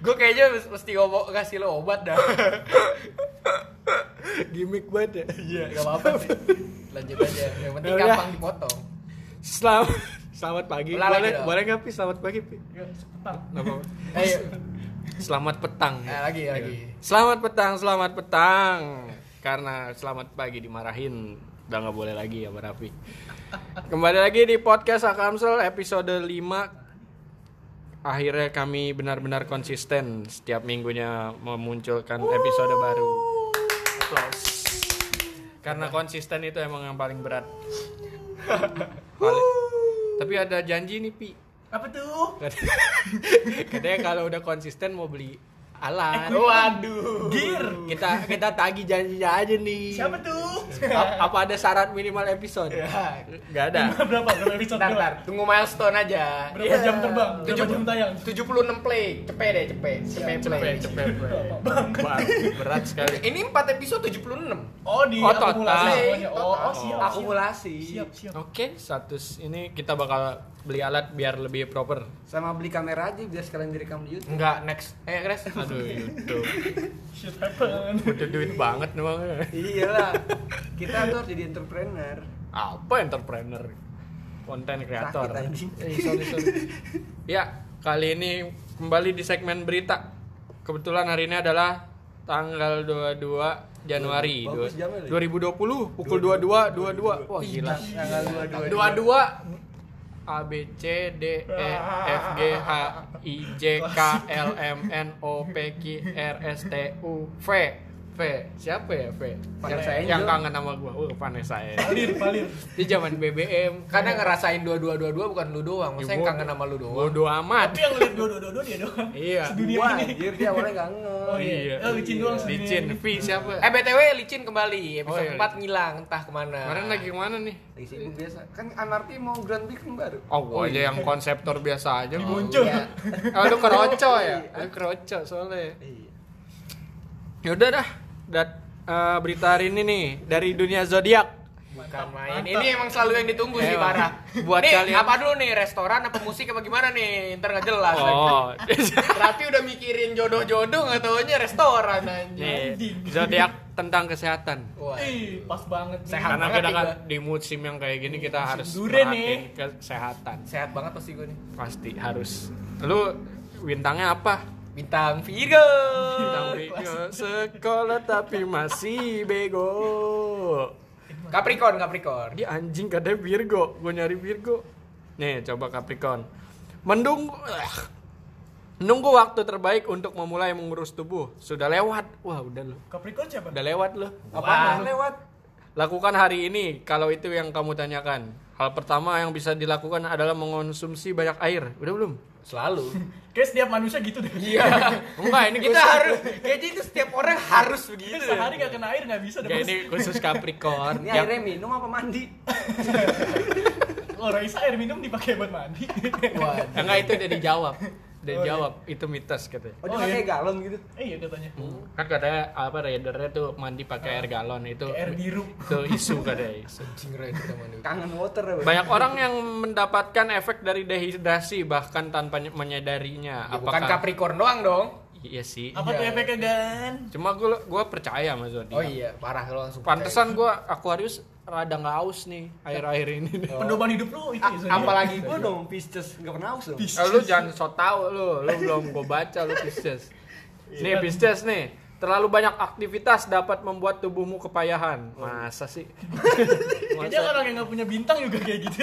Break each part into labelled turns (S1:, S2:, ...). S1: Gue kayaknya mes- mesti ngomong kasih lo obat dah.
S2: Gimik banget ya.
S1: Iya, gak apa-apa sih. Lanjut aja. Yang penting
S2: Yaudah.
S1: gampang dipotong.
S2: Selamat selamat pagi.
S1: Ulang lagi
S2: boleh
S1: dong.
S2: boleh nggak Pi? Selamat pagi Pi. Nggak apa-apa.
S1: Ayo.
S2: Selamat petang.
S1: Eh, iya. Nah, lagi lagi.
S2: Selamat petang, selamat petang. Karena selamat pagi dimarahin udah nggak boleh lagi ya Barafi. Kembali lagi di podcast Akamsel episode 5 Akhirnya kami benar-benar konsisten setiap minggunya memunculkan episode baru. Applause. Karena konsisten itu emang yang paling berat. Paling- Tapi ada janji nih Pi.
S3: Apa tuh?
S2: Katanya kalau udah konsisten mau beli alat.
S1: Waduh.
S3: Gear.
S2: kita kita tagih janjinya aja nih
S3: Siapa tuh?
S2: A- apa ada syarat minimal episode
S4: Iya.
S1: Ya.
S2: nggak ada
S3: berapa berapa episode?
S1: Ntar, ntar. Tunggu milestone aja. Iya.
S3: Berapa jam terbang? Berapa jam tayang?
S1: 76 play. Cepet deh, cepet. Cepet play.
S2: Wah, berat sekali
S1: Ini 4 episode 76.
S3: Oh di
S2: Oh, total.
S3: akumulasi semuanya.
S1: Total.
S3: Oh, oh, siap.
S1: Akumulasi.
S4: Iya,
S3: Siap, siap. siap.
S2: oke status ini kita bakal beli alat biar lebih proper
S4: sama beli kamera aja biar sekalian direkam di YouTube.
S1: Enggak, next. Eh, Kres.
S2: aduh YouTube
S3: Shit happen.
S2: butuh duit banget memang
S4: Iyalah. Kita tuh harus jadi entrepreneur.
S2: apa entrepreneur konten kreator
S4: Sakit anjing.
S2: Eh, sorry, sorry. ya kali ini kembali di segmen berita kebetulan hari ini adalah tanggal 22 Januari
S4: Bagus
S2: dua-
S4: jamnya, Li.
S2: 2020 pukul 22 22 wah gila
S4: Tanggal 22.
S2: dua dua A B C D E F G H I J K L M N O P Q R S T U V V siapa ya V yang,
S4: Vanessa Angel.
S2: yang kangen sama gua oh Vanessa Angel
S3: Palir, palir.
S2: di zaman BBM
S1: Karena ngerasain dua-dua-dua-dua bukan lu doang. Maksudnya yang
S2: Ibu-
S1: kangen sama lu doang.
S2: Iya. bodo
S3: Tapi
S2: amat
S3: yang lihat dua dua dua dua dia doang.
S2: iya
S3: Dunia
S4: Wah,
S3: ini.
S4: anjir dia awalnya nggak nge.
S3: Oh iya. Eh, licin doang sih.
S2: licin V siapa
S1: Eh, BTW licin kembali.
S2: Oh,
S1: Episode
S2: iya.
S1: 4 ngilang entah kemana.
S2: kemarin lagi kemana nih
S4: Lagi sibuk biasa. Kan anarki mau grand bikin baru.
S2: Oh, gua aja yang konseptor biasa aja gua.
S3: Muncul.
S1: Iya.
S2: Oh, lu keroco ya? Lu keroco soalnya.
S4: Iya.
S2: Yaudah Ya dah, dat eh, berita hari ini nih dari dunia zodiak.
S1: Bukan main. Ini emang selalu yang ditunggu sih
S2: Emang.
S1: parah.
S2: Buat
S1: nih,
S2: kalian-
S1: apa dulu nih restoran apa musik apa gimana nih? Ntar nggak jelas. lagi.
S2: Oh,
S1: Raffi udah mikirin jodoh-jodoh nggak taunya restoran anjing.
S2: nih, zodiak tentang kesehatan.
S1: Wah.
S3: Ih, pas banget. nih.
S1: Sehat.
S2: Karena
S1: banget
S2: kita
S1: nih
S2: kan di musim yang kayak gini kita harus
S3: durian
S2: perhatiin kesehatan.
S1: Sehat banget pasti gue nih.
S2: Pasti harus. Lu bintangnya apa?
S1: Bintang Virgo.
S2: Bintang bego sekolah tapi masih bego.
S1: Capricorn, Capricorn.
S2: Dia anjing katanya Virgo, gue nyari Virgo. Nih, coba Capricorn. Mendung eh. Nunggu waktu terbaik untuk memulai mengurus tubuh. Sudah lewat. Wah, udah lu.
S3: Capricorn siapa?
S2: Udah lewat lu.
S4: Apaan lewat?
S2: Lakukan hari ini kalau itu yang kamu tanyakan. Hal pertama yang bisa dilakukan adalah mengonsumsi banyak air. Udah belum?
S1: Selalu.
S3: Kayak setiap manusia gitu deh.
S1: Iya.
S2: Enggak, ini
S1: kita harus kayaknya itu setiap orang harus begitu.
S3: Sehari gak kena air gak bisa deh.
S2: Kayak ini khusus Capricorn.
S4: Ini
S2: Yang-
S4: airnya minum apa mandi?
S3: Oh, Raisa air minum dipakai buat mandi.
S1: Waduh.
S2: Enggak itu udah dijawab. Udah
S3: iya.
S2: dijawab, itu mitos katanya.
S4: Oh, dia
S3: Oh,
S4: pakai
S3: iya.
S4: galon gitu.
S3: Eh, iya katanya.
S2: Kan katanya apa raidernya tuh mandi pakai air galon itu.
S3: Kayak air biru.
S2: Itu isu katanya. isu.
S1: Anjing Ray, kita mandi.
S4: Kangen water ya. Bang.
S2: Banyak orang yang mendapatkan efek dari dehidrasi bahkan tanpa ny- menyadarinya.
S1: Ya, bukan Capricorn doang dong.
S2: Iya sih.
S3: Apa tuh
S1: Iya.
S3: efeknya, Gan?
S2: Cuma gue gua percaya sama zodiak.
S1: Oh iya, parah lo langsung.
S2: Pantesan gue Aquarius rada nggak haus nih akhir-akhir ini.
S1: Oh.
S3: Pedoman hidup lu itu.
S1: A-
S3: ya, Sonia.
S1: apalagi
S4: Gua dong Pisces enggak pernah haus dong.
S3: Pisces.
S2: Eh, lu jangan so tau lu, lu belum gue baca lu Pisces.
S1: Iya.
S2: Nih Pisces nih, terlalu banyak aktivitas dapat membuat tubuhnya kepayahan.
S1: Oh.
S2: Masa sih?
S3: Kayaknya orang yang gak punya bintang juga kayak gitu.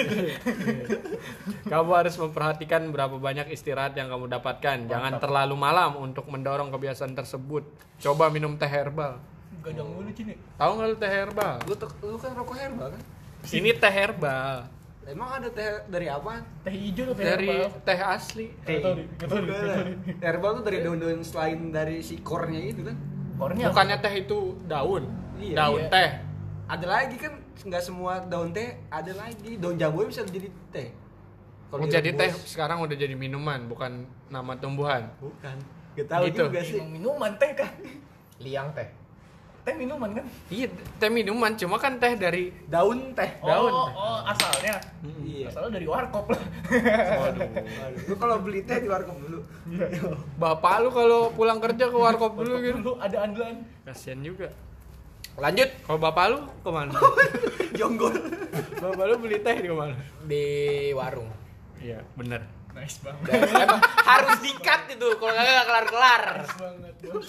S2: Kamu harus memperhatikan berapa banyak istirahat yang kamu dapatkan. Jangan terlalu malam untuk mendorong kebiasaan tersebut. Coba minum teh herbal.
S3: Gadang mulu cini.
S2: Tahu nggak lu teh herbal?
S4: Lu tuh lu kan rokok herbal kan?
S2: Ini teh herbal
S4: Emang ada teh dari apa?
S3: Teh hijau tuh
S2: dari teh asli.
S3: Gak tau nih, gak tau nih, gak tau nih.
S4: Herbal tuh dari daun-daun selain dari si core-nya itu kan.
S3: Orangnya apa?
S2: Bukannya teh itu daun,
S4: Iya.
S2: daun
S3: Iya.
S2: teh.
S4: ada lagi kan nggak semua daun teh ada lagi daun jambu bisa jadi teh
S2: Mau Oh, jadi teh sekarang udah jadi minuman, bukan nama tumbuhan.
S4: bukan gak tahu
S2: Gitu.
S4: juga ya, sih
S3: Emang minuman teh kan?
S1: liang teh.
S3: teh minuman kan?
S2: Iya, teh minuman cuma kan teh dari
S4: Daun teh.
S2: Daun.
S3: Oh, oh asalnya.
S4: Iya.
S3: Asalnya dari warkop lah.
S4: Waduh. Lu kalau beli teh di warkop dulu.
S2: bapak lu kalau pulang kerja ke warkop dulu
S3: Dulu
S2: gitu.
S3: dulu ada andalan.
S2: Kasian juga. Lanjut, kalau bapak lu kemana?
S4: Jonggol.
S2: bapak lu beli teh di mana?
S1: di warung.
S2: Iya, bener.
S3: Nice
S1: Dan
S3: banget.
S1: emang harus dikat itu kalau nggak nggak kelar-kelar.
S3: Nice banget. bos.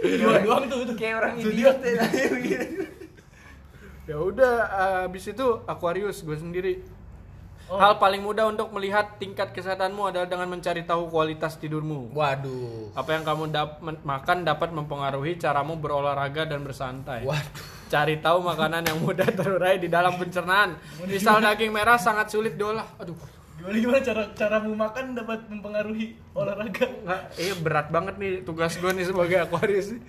S3: Dua doang tuh itu.
S4: Kayak orang
S3: Studio.
S4: idiot teh tadi begitu.
S2: Ya udah, abis itu Aquarius gue sendiri.
S3: Oh.
S2: Hal paling mudah untuk melihat tingkat kesehatanmu adalah dengan mencari tahu kualitas tidurmu.
S1: Waduh.
S2: Apa yang kamu dap- men- makan dapat mempengaruhi caramu berolahraga dan bersantai.
S1: Waduh.
S2: Cari tahu makanan yang mudah terurai di dalam pencernaan. Misal daging merah sangat sulit diolah. Aduh,
S3: Gimana gimana cara caramu makan dapat mempengaruhi olahraga?
S2: nggak, eh berat banget nih tugas gue nih sebagai Aquarius. nih.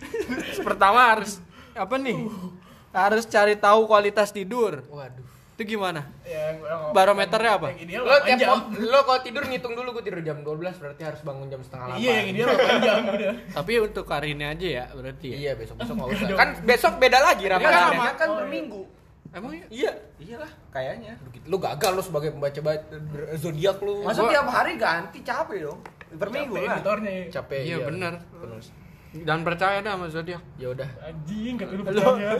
S2: Pertama harus apa nih? Harus cari tahu kualitas tidur.
S1: Waduh.
S2: Itu gimana?
S3: Ya, Yang, yang
S2: Barometernya apa?
S3: Yang ideal
S1: Lo tiap
S3: jam.
S1: lo kalau tidur ngitung dulu gue tidur jam 12 berarti harus bangun jam setengah 8.
S3: Iya, yang ideal 8 jam udah.
S2: Tapi untuk hari ini aja ya berarti ya.
S1: Iya besok besok nggak usah. Kan besok beda lagi
S4: Kan
S1: ramalannya.
S4: lama kan
S3: Oh, iya.
S4: per minggu.
S2: Emang ya?
S1: Iya.
S4: Iyalah, kayaknya.
S1: Begitu. Lu gagal lu sebagai pembaca ba- zodiak lu.
S4: Masa
S2: Gua-
S4: tiap hari ganti capek dong. Per minggu
S3: Capek
S4: lah.
S3: editornya ya.
S1: capek.
S2: Iya, benar.
S1: Terus.
S2: Dan percaya dah sama zodiak.
S1: Ya udah.
S3: Anjing kata lu pertanyaan.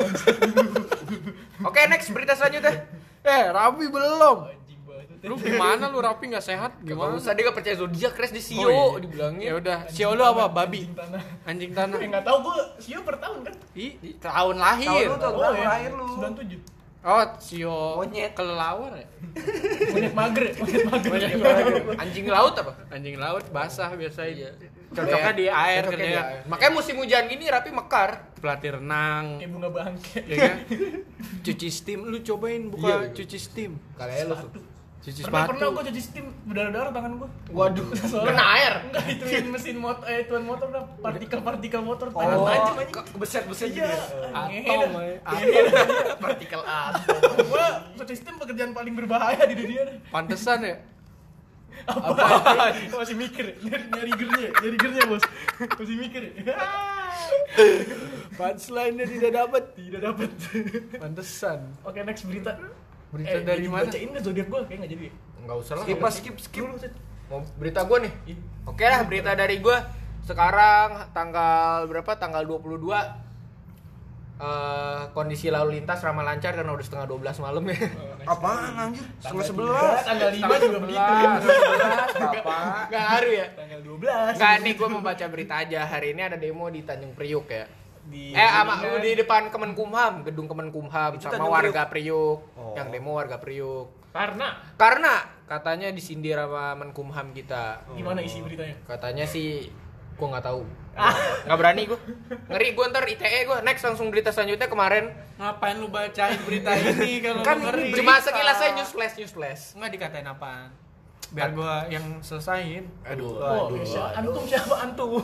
S1: Oke next berita selanjutnya.
S2: Eh, Rapi belum.
S3: Anjing banget.
S2: Lu gimana lu Rapi nggak sehat?
S1: Gimana?
S2: Gimana?
S1: Usah dia gak percaya zodiak res di E sio
S2: Oh, iya.
S1: dibilangnya.
S2: Ya udah, sio lu apa? Babi.
S3: Anjing tanah.
S2: Anjing
S3: Gue
S2: tanah.
S3: enggak tahu gua sio per tahun kan.
S2: Ih, tahun
S4: Tahun
S2: lahir.
S4: lu tuh
S3: ya.
S4: lahir lu.
S3: 97.
S2: Oh, sio
S4: Monyet.
S2: kelelawar ya?
S3: Monyet mager, ya? monyet mager.
S2: Monyet mager.
S1: Anjing laut apa?
S2: Anjing laut basah biasa
S1: Iya.
S2: Cocoknya di air
S1: Cocoknya
S2: kerja.
S1: di air. Makanya musim hujan gini Rapi mekar.
S2: Pelatih renang,
S3: Kayak bunga bangke.
S2: ya kan? Cuci steam, lu cobain
S1: Iya,
S2: buka
S1: iya.
S2: cuci steam.
S1: Kalian lu
S3: Sepatu.
S2: Cuci
S3: Pernah pernah
S2: sepatu.
S3: gua cuci steam berdarah-darah tangan gua.
S1: Waduh,
S3: Soalnya-
S1: kena air.
S3: Enggak ituin mesin motor, eh ituin motor dah. Partikel-partikel motor tangan
S4: Oh,
S3: tajam anjing.
S4: ke- kebeset-beset gitu.
S3: Iya.
S4: ya.
S2: Atom,
S3: Atom.
S2: eh.
S1: partikel atom.
S3: Gua cuci steam pekerjaan paling berbahaya di dunia. dah.
S2: Pantesan ya?
S3: Apa? Masih mikir, nyari, nyari gernya, nyari gernya, Bos. Masih mikir.
S2: Punchline-nya tidak dapat.
S3: Tidak dapat.
S2: Pantesan.
S3: Oke, next berita.
S2: Berita dari mana?
S3: Bacain nggak zodiak gua kayak nggak jadi. ya?
S1: Enggak usah lah.
S4: Skip lah, skip skip.
S3: Dulu, Cet.
S1: Mau berita gue nih.
S3: Ih,
S1: Oke lah berita dari gue sekarang tanggal berapa tanggal 22 eh kondisi lalu lintas ramah lancar karena udah setengah 12 malam ya.
S4: Apaan anjir? Setengah
S3: tiga,
S4: sebelas.
S3: Tanggal 5 juga begitu.
S4: Bapak.
S1: Gak ngaruh ya.
S3: Tanggal 12.
S1: Enggak nih gue mau baca berita aja. Hari ini ada demo di Tanjung Priuk ya.
S3: Di
S1: Eh ama di depan Kemenkumham, gedung Kemenkumham
S4: Itu
S1: sama
S4: Tanjung
S1: warga Priuk.
S4: Oh.
S1: Yang demo warga Priuk.
S3: Karena
S1: Karena katanya disindir sama Menkumham kita.
S3: gimana isi beritanya?
S1: Katanya sih gua nggak tahu.
S2: Ah.
S1: Nggak berani gua. Ngeri gua ntar ITE gua. Next langsung berita selanjutnya kemarin.
S2: Ngapain lu bacain berita ini kalau
S1: Kan
S2: lu ngeri?
S1: cuma sekilas saya news flash news flash.
S2: Enggak dikatain apaan? Biar gua yang selesain.
S1: Aduh.
S3: Oh, Syah- antum siapa antum?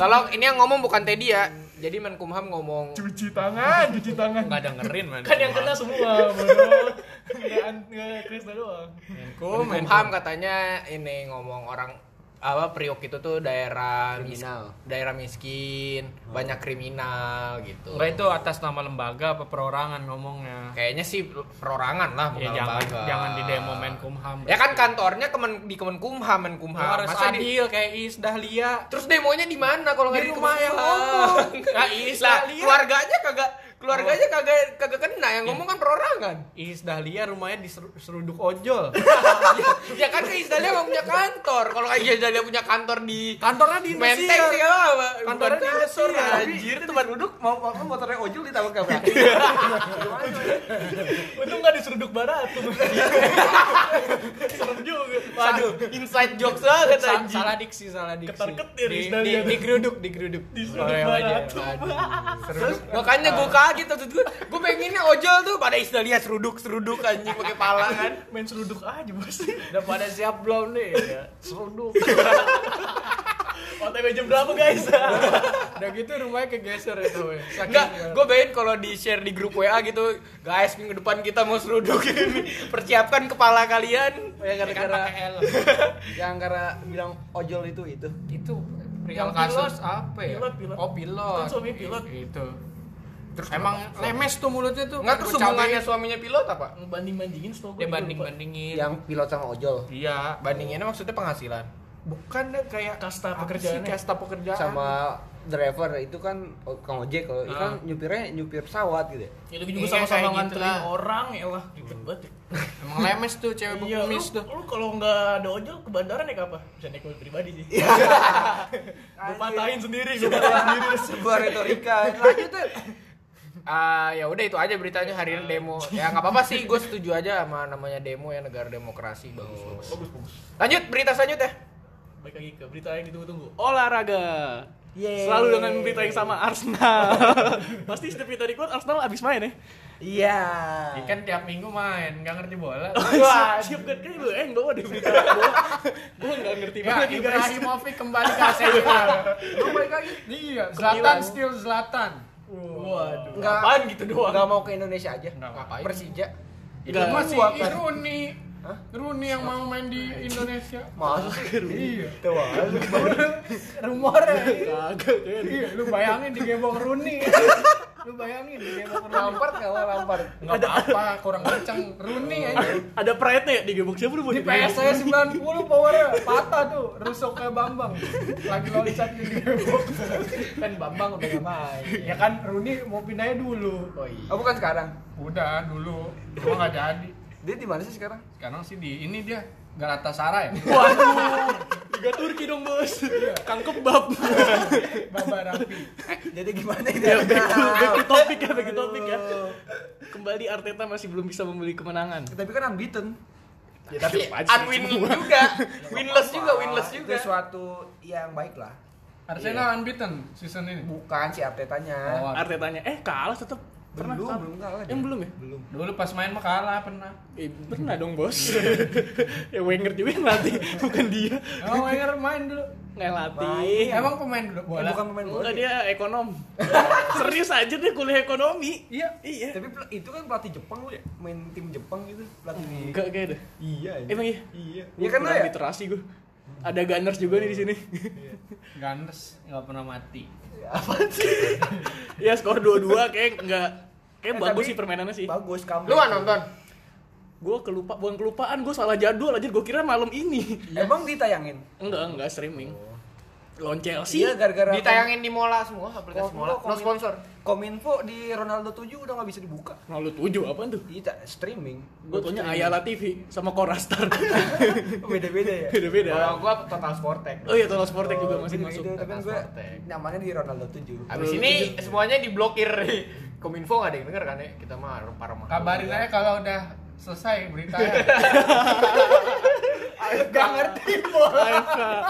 S1: Tolong ini yang ngomong bukan Teddy ya. Jadi Menkumham ngomong
S3: cuci tangan, cuci tangan.
S2: Enggak dengerin, man.
S3: Kan yang kena semua, bodoh. Nggak an- nggak Krista doang.
S2: Menko,
S1: Menkumham katanya ini ngomong orang apa Priok itu tuh daerah mis-
S4: Kriminal.
S1: daerah miskin, banyak kriminal gitu.
S2: Enggak itu atas nama lembaga apa perorangan ngomongnya.
S1: Kayaknya sih perorangan lah bukan
S2: Ya jangan
S1: lembaga.
S2: jangan di demo Menkumham.
S1: Ya kan kantornya kemen, di Kemenkumham,
S2: Lu
S1: Menkumham.
S2: harus
S1: Masa di-
S2: adil kayak Iis Dahlia.
S1: Terus demonya di mana kalau nggak
S2: Di iya,
S1: di
S2: rumah yang ngomong.
S1: Nah,
S2: Ih,
S1: lah,
S2: lihat.
S1: keluarganya kagak keluarganya kagak kagak kena yang ngomong kan perorangan.
S2: Iis Dahlia rumahnya di seru- seruduk ojol. Iya.
S1: ya kan ke Isdalia nggak punya kantor. Kalau kayak Isdalia punya kantor di
S2: Kantornya di
S1: Menteng
S2: Indosiar.
S1: sih apa?
S2: Kantornya di Indosiar.
S4: ya,
S1: Anjir tempat duduk.
S4: Mau apa motornya ojol ditabrak ke belakang.
S3: Untung nggak diseruduk barat tuh. Serem juga.
S1: Waduh, inside jokes banget
S2: Sa-
S1: anjir.
S2: salah diksi, salah diksi.
S3: Ketar-ketir
S2: di,
S3: Iis
S2: di,
S3: Dahlia.
S2: di geruduk, di geruduk.
S3: Diseruduk
S2: Oleh
S3: barat.
S2: wajah. Ah.
S1: Terus makanya gue kaget tuh gue. Gue pengennya ojol tuh pada Isdalia seruduk-seruduk anjing pakai pala kan.
S3: Main seruduk aja, Bos.
S2: Udah pada siap belum nih? Ya, seruduk.
S3: OTW jam berapa, guys?
S2: Udah gitu rumahnya kegeser itu. weh. Saking-
S1: Enggak, gue bayangin kalau di share di grup WA gitu, guys minggu depan kita mau seruduk ini, persiapkan kepala kalian.
S4: Ya
S1: kan
S4: gara-gara
S2: Pakai helm.
S4: yang gara ya, bilang ojol itu itu.
S2: itu
S1: Yang
S2: yang
S1: pilot.
S2: kasus apa ya?
S3: Pilot, pilot.
S2: Oh, pilot.
S3: Kan suami pilot.
S2: I- Itu.
S1: Terus
S3: Emang lemes tuh mulutnya tuh.
S1: Enggak terus
S3: Gua
S1: hubungannya
S3: cabain.
S1: suaminya pilot apa?
S2: Ya, banding bandingin setahu gue
S3: dia
S2: juga
S3: banding
S2: lupa.
S3: bandingin.
S4: yang pilot sama ojol
S1: Iya, bandinginnya maksudnya penghasilan.
S3: Bukan dah kayak
S2: kasta
S1: Apa
S2: pekerjaannya.
S1: sih kasta
S4: Ya.
S1: pekerjaan.
S4: sama driver itu kan tukang ojek kalau itu kan nyupirnya nyupir pesawat gitu ya.
S2: itu juga
S1: Iya,
S2: sama-sama
S1: kayak gitu
S2: nganterin
S1: lah.
S2: orang ya lah ribet banget ya.
S1: Emang lemes tuh cewek
S2: iya lu,
S1: pengemis tuh.
S2: lu kalau nggak ada ojol ke bandara naik apa bisa naik mobil pribadi sih gue patahin sendiri gue patahin sendiri
S4: sebuah retorika lanjut tuh
S1: Ah, ya udah itu aja beritanya hari ini demo. Ya nggak apa-apa sih, gue setuju aja sama namanya demo ya negara demokrasi bagus. bagus.
S2: bagus bagus
S1: Lanjut berita selanjutnya.
S2: baik lagi ke berita yang ditunggu-tunggu
S3: olahraga.
S4: Yeay.
S3: Selalu dengan berita yang sama Arsenal.
S2: pasti setiap kita record Arsenal abis main ya
S4: iya
S2: kan?
S1: Ikan Kan tiap minggu main, nggak ngerti bola.
S3: Oh,
S2: Wah, siap kan kayak lu eng bawa di berita bawa. Gua nggak ngerti
S1: Ya,
S2: banget nih guys.
S1: Ibrahimovic kembali ke Arsenal. Lu balik lagi. Iya, Zlatan still Zlatan.
S2: Waduh,
S4: Nggak-
S2: apaan gitu doang?
S4: nggak mau ke Indonesia aja
S1: Ngapain?
S4: Persija
S1: Itu
S2: Nggak.
S1: masih
S4: Gua kan.
S1: Rooney. Rooney yang mau main di Indonesia.
S4: masuk iya
S2: Kagak kan.
S1: Iya, lu bayangin digebong Rooney. lu bayangin digebong
S4: lampar nggak mau lampar
S1: Enggak apa-apa, kurang kenceng Rooney aja.
S2: Ada pride-nya ya di gebok siapa lu buat
S1: Di
S5: iya.
S1: PS saya 90 powernya patah tuh, rusuk kayak Bambang. Lagi loncat di gebong. kan Bambang udah gak main. Ya kan Rooney mau pindahnya dulu. Oh iya.
S4: oh bukan sekarang
S1: Udah dulu, cuma nggak jadi.
S4: dia di mana sih sekarang
S1: Sekarang sih di ini dia Galatasaray.
S2: Waduh. Liga Turki dong, Bos.
S5: Iya.
S2: Kang kebab.
S1: Baba Rapi.
S4: jadi gimana ini
S2: ya, back to, back to topic ya, back to topic ya. Kembali Arteta masih belum bisa membeli kemenangan.
S4: tapi kan unbeaten
S1: Ya,
S5: iya,
S1: tapi
S3: Tetep aja
S1: unwin juga, winless juga, winless
S4: Wah,
S1: juga.
S4: itu suatu yang baik lah
S2: Iya.
S5: Arsenal unbeaten season ini.
S4: bukan si Artetanya
S5: Oh,
S3: Artetanya eh kalah tetap pernah
S4: belum
S3: kalah.
S4: belum kalah dia.
S3: Yang belum ya?
S5: Dulu pas main mah kalah pernah.
S3: Eh, pernah dong bos.
S1: Iya.
S3: ya Wenger juga yang latih, bukan dia.
S5: Oh, Wenger main dulu.
S3: Nggak latih.
S4: Main.
S5: Emang pemain dulu
S4: Eh,
S5: bola.
S4: bukan pemain bola
S3: Enggak dia ekonom. Serius aja dia kuliah ekonomi. Iya. Iya.
S4: tapi pel- itu kan pelatih Jepang lu ya main tim Jepang gitu pelatih
S3: Enggak kayak deh.
S4: iya anjing.
S3: Emang iya.
S4: iya
S3: Gua
S4: ya kan lo
S3: kurang gitu.
S4: ya
S3: literasi gue. Ada gunners juga nih di sini.
S5: Gunners nggak pernah mati.
S3: ya skor 2-2 kayak enggak kayak
S4: Eh,
S3: bagus
S4: tapi-
S3: sih permainannya sih.
S4: bagus kamu
S1: Lu nggak nonton?
S3: Gue kelupa bukan kelupaan, gue salah jadwal aja gue kira malam ini.
S4: Iya. emang ditayangin
S3: Enggak, enggak streaming. Lawan Chelsea.
S4: iya gara-gara
S1: Ditayangin di Mola semua, aplikasi
S4: Kominfo,
S1: Mola. No
S4: Kominfo.
S1: sponsor.
S4: Kominfo di Ronaldo 7 udah nggak bisa dibuka.
S3: Lalu tujuh apaan tuh?
S4: Iya, streaming.
S3: Gue taunya Ayala TV sama Korastar.
S4: Beda-beda ya.
S1: Kalau
S3: Beda-beda.
S1: gua total sportek.
S3: Oh iya, Total Sportek juga masih
S4: Beda-beda,
S3: masuk.
S4: tapi gue
S1: Sportek.
S4: namanya di Ronaldo 7.
S1: Abis ini semuanya diblokir Kominfo nggak ada yang denger kan ya? Kita mah Iya. remah-remah.
S5: Kabarin aja kalau udah selesai
S1: ya.
S5: beritanya.
S4: Gak ngerti bola.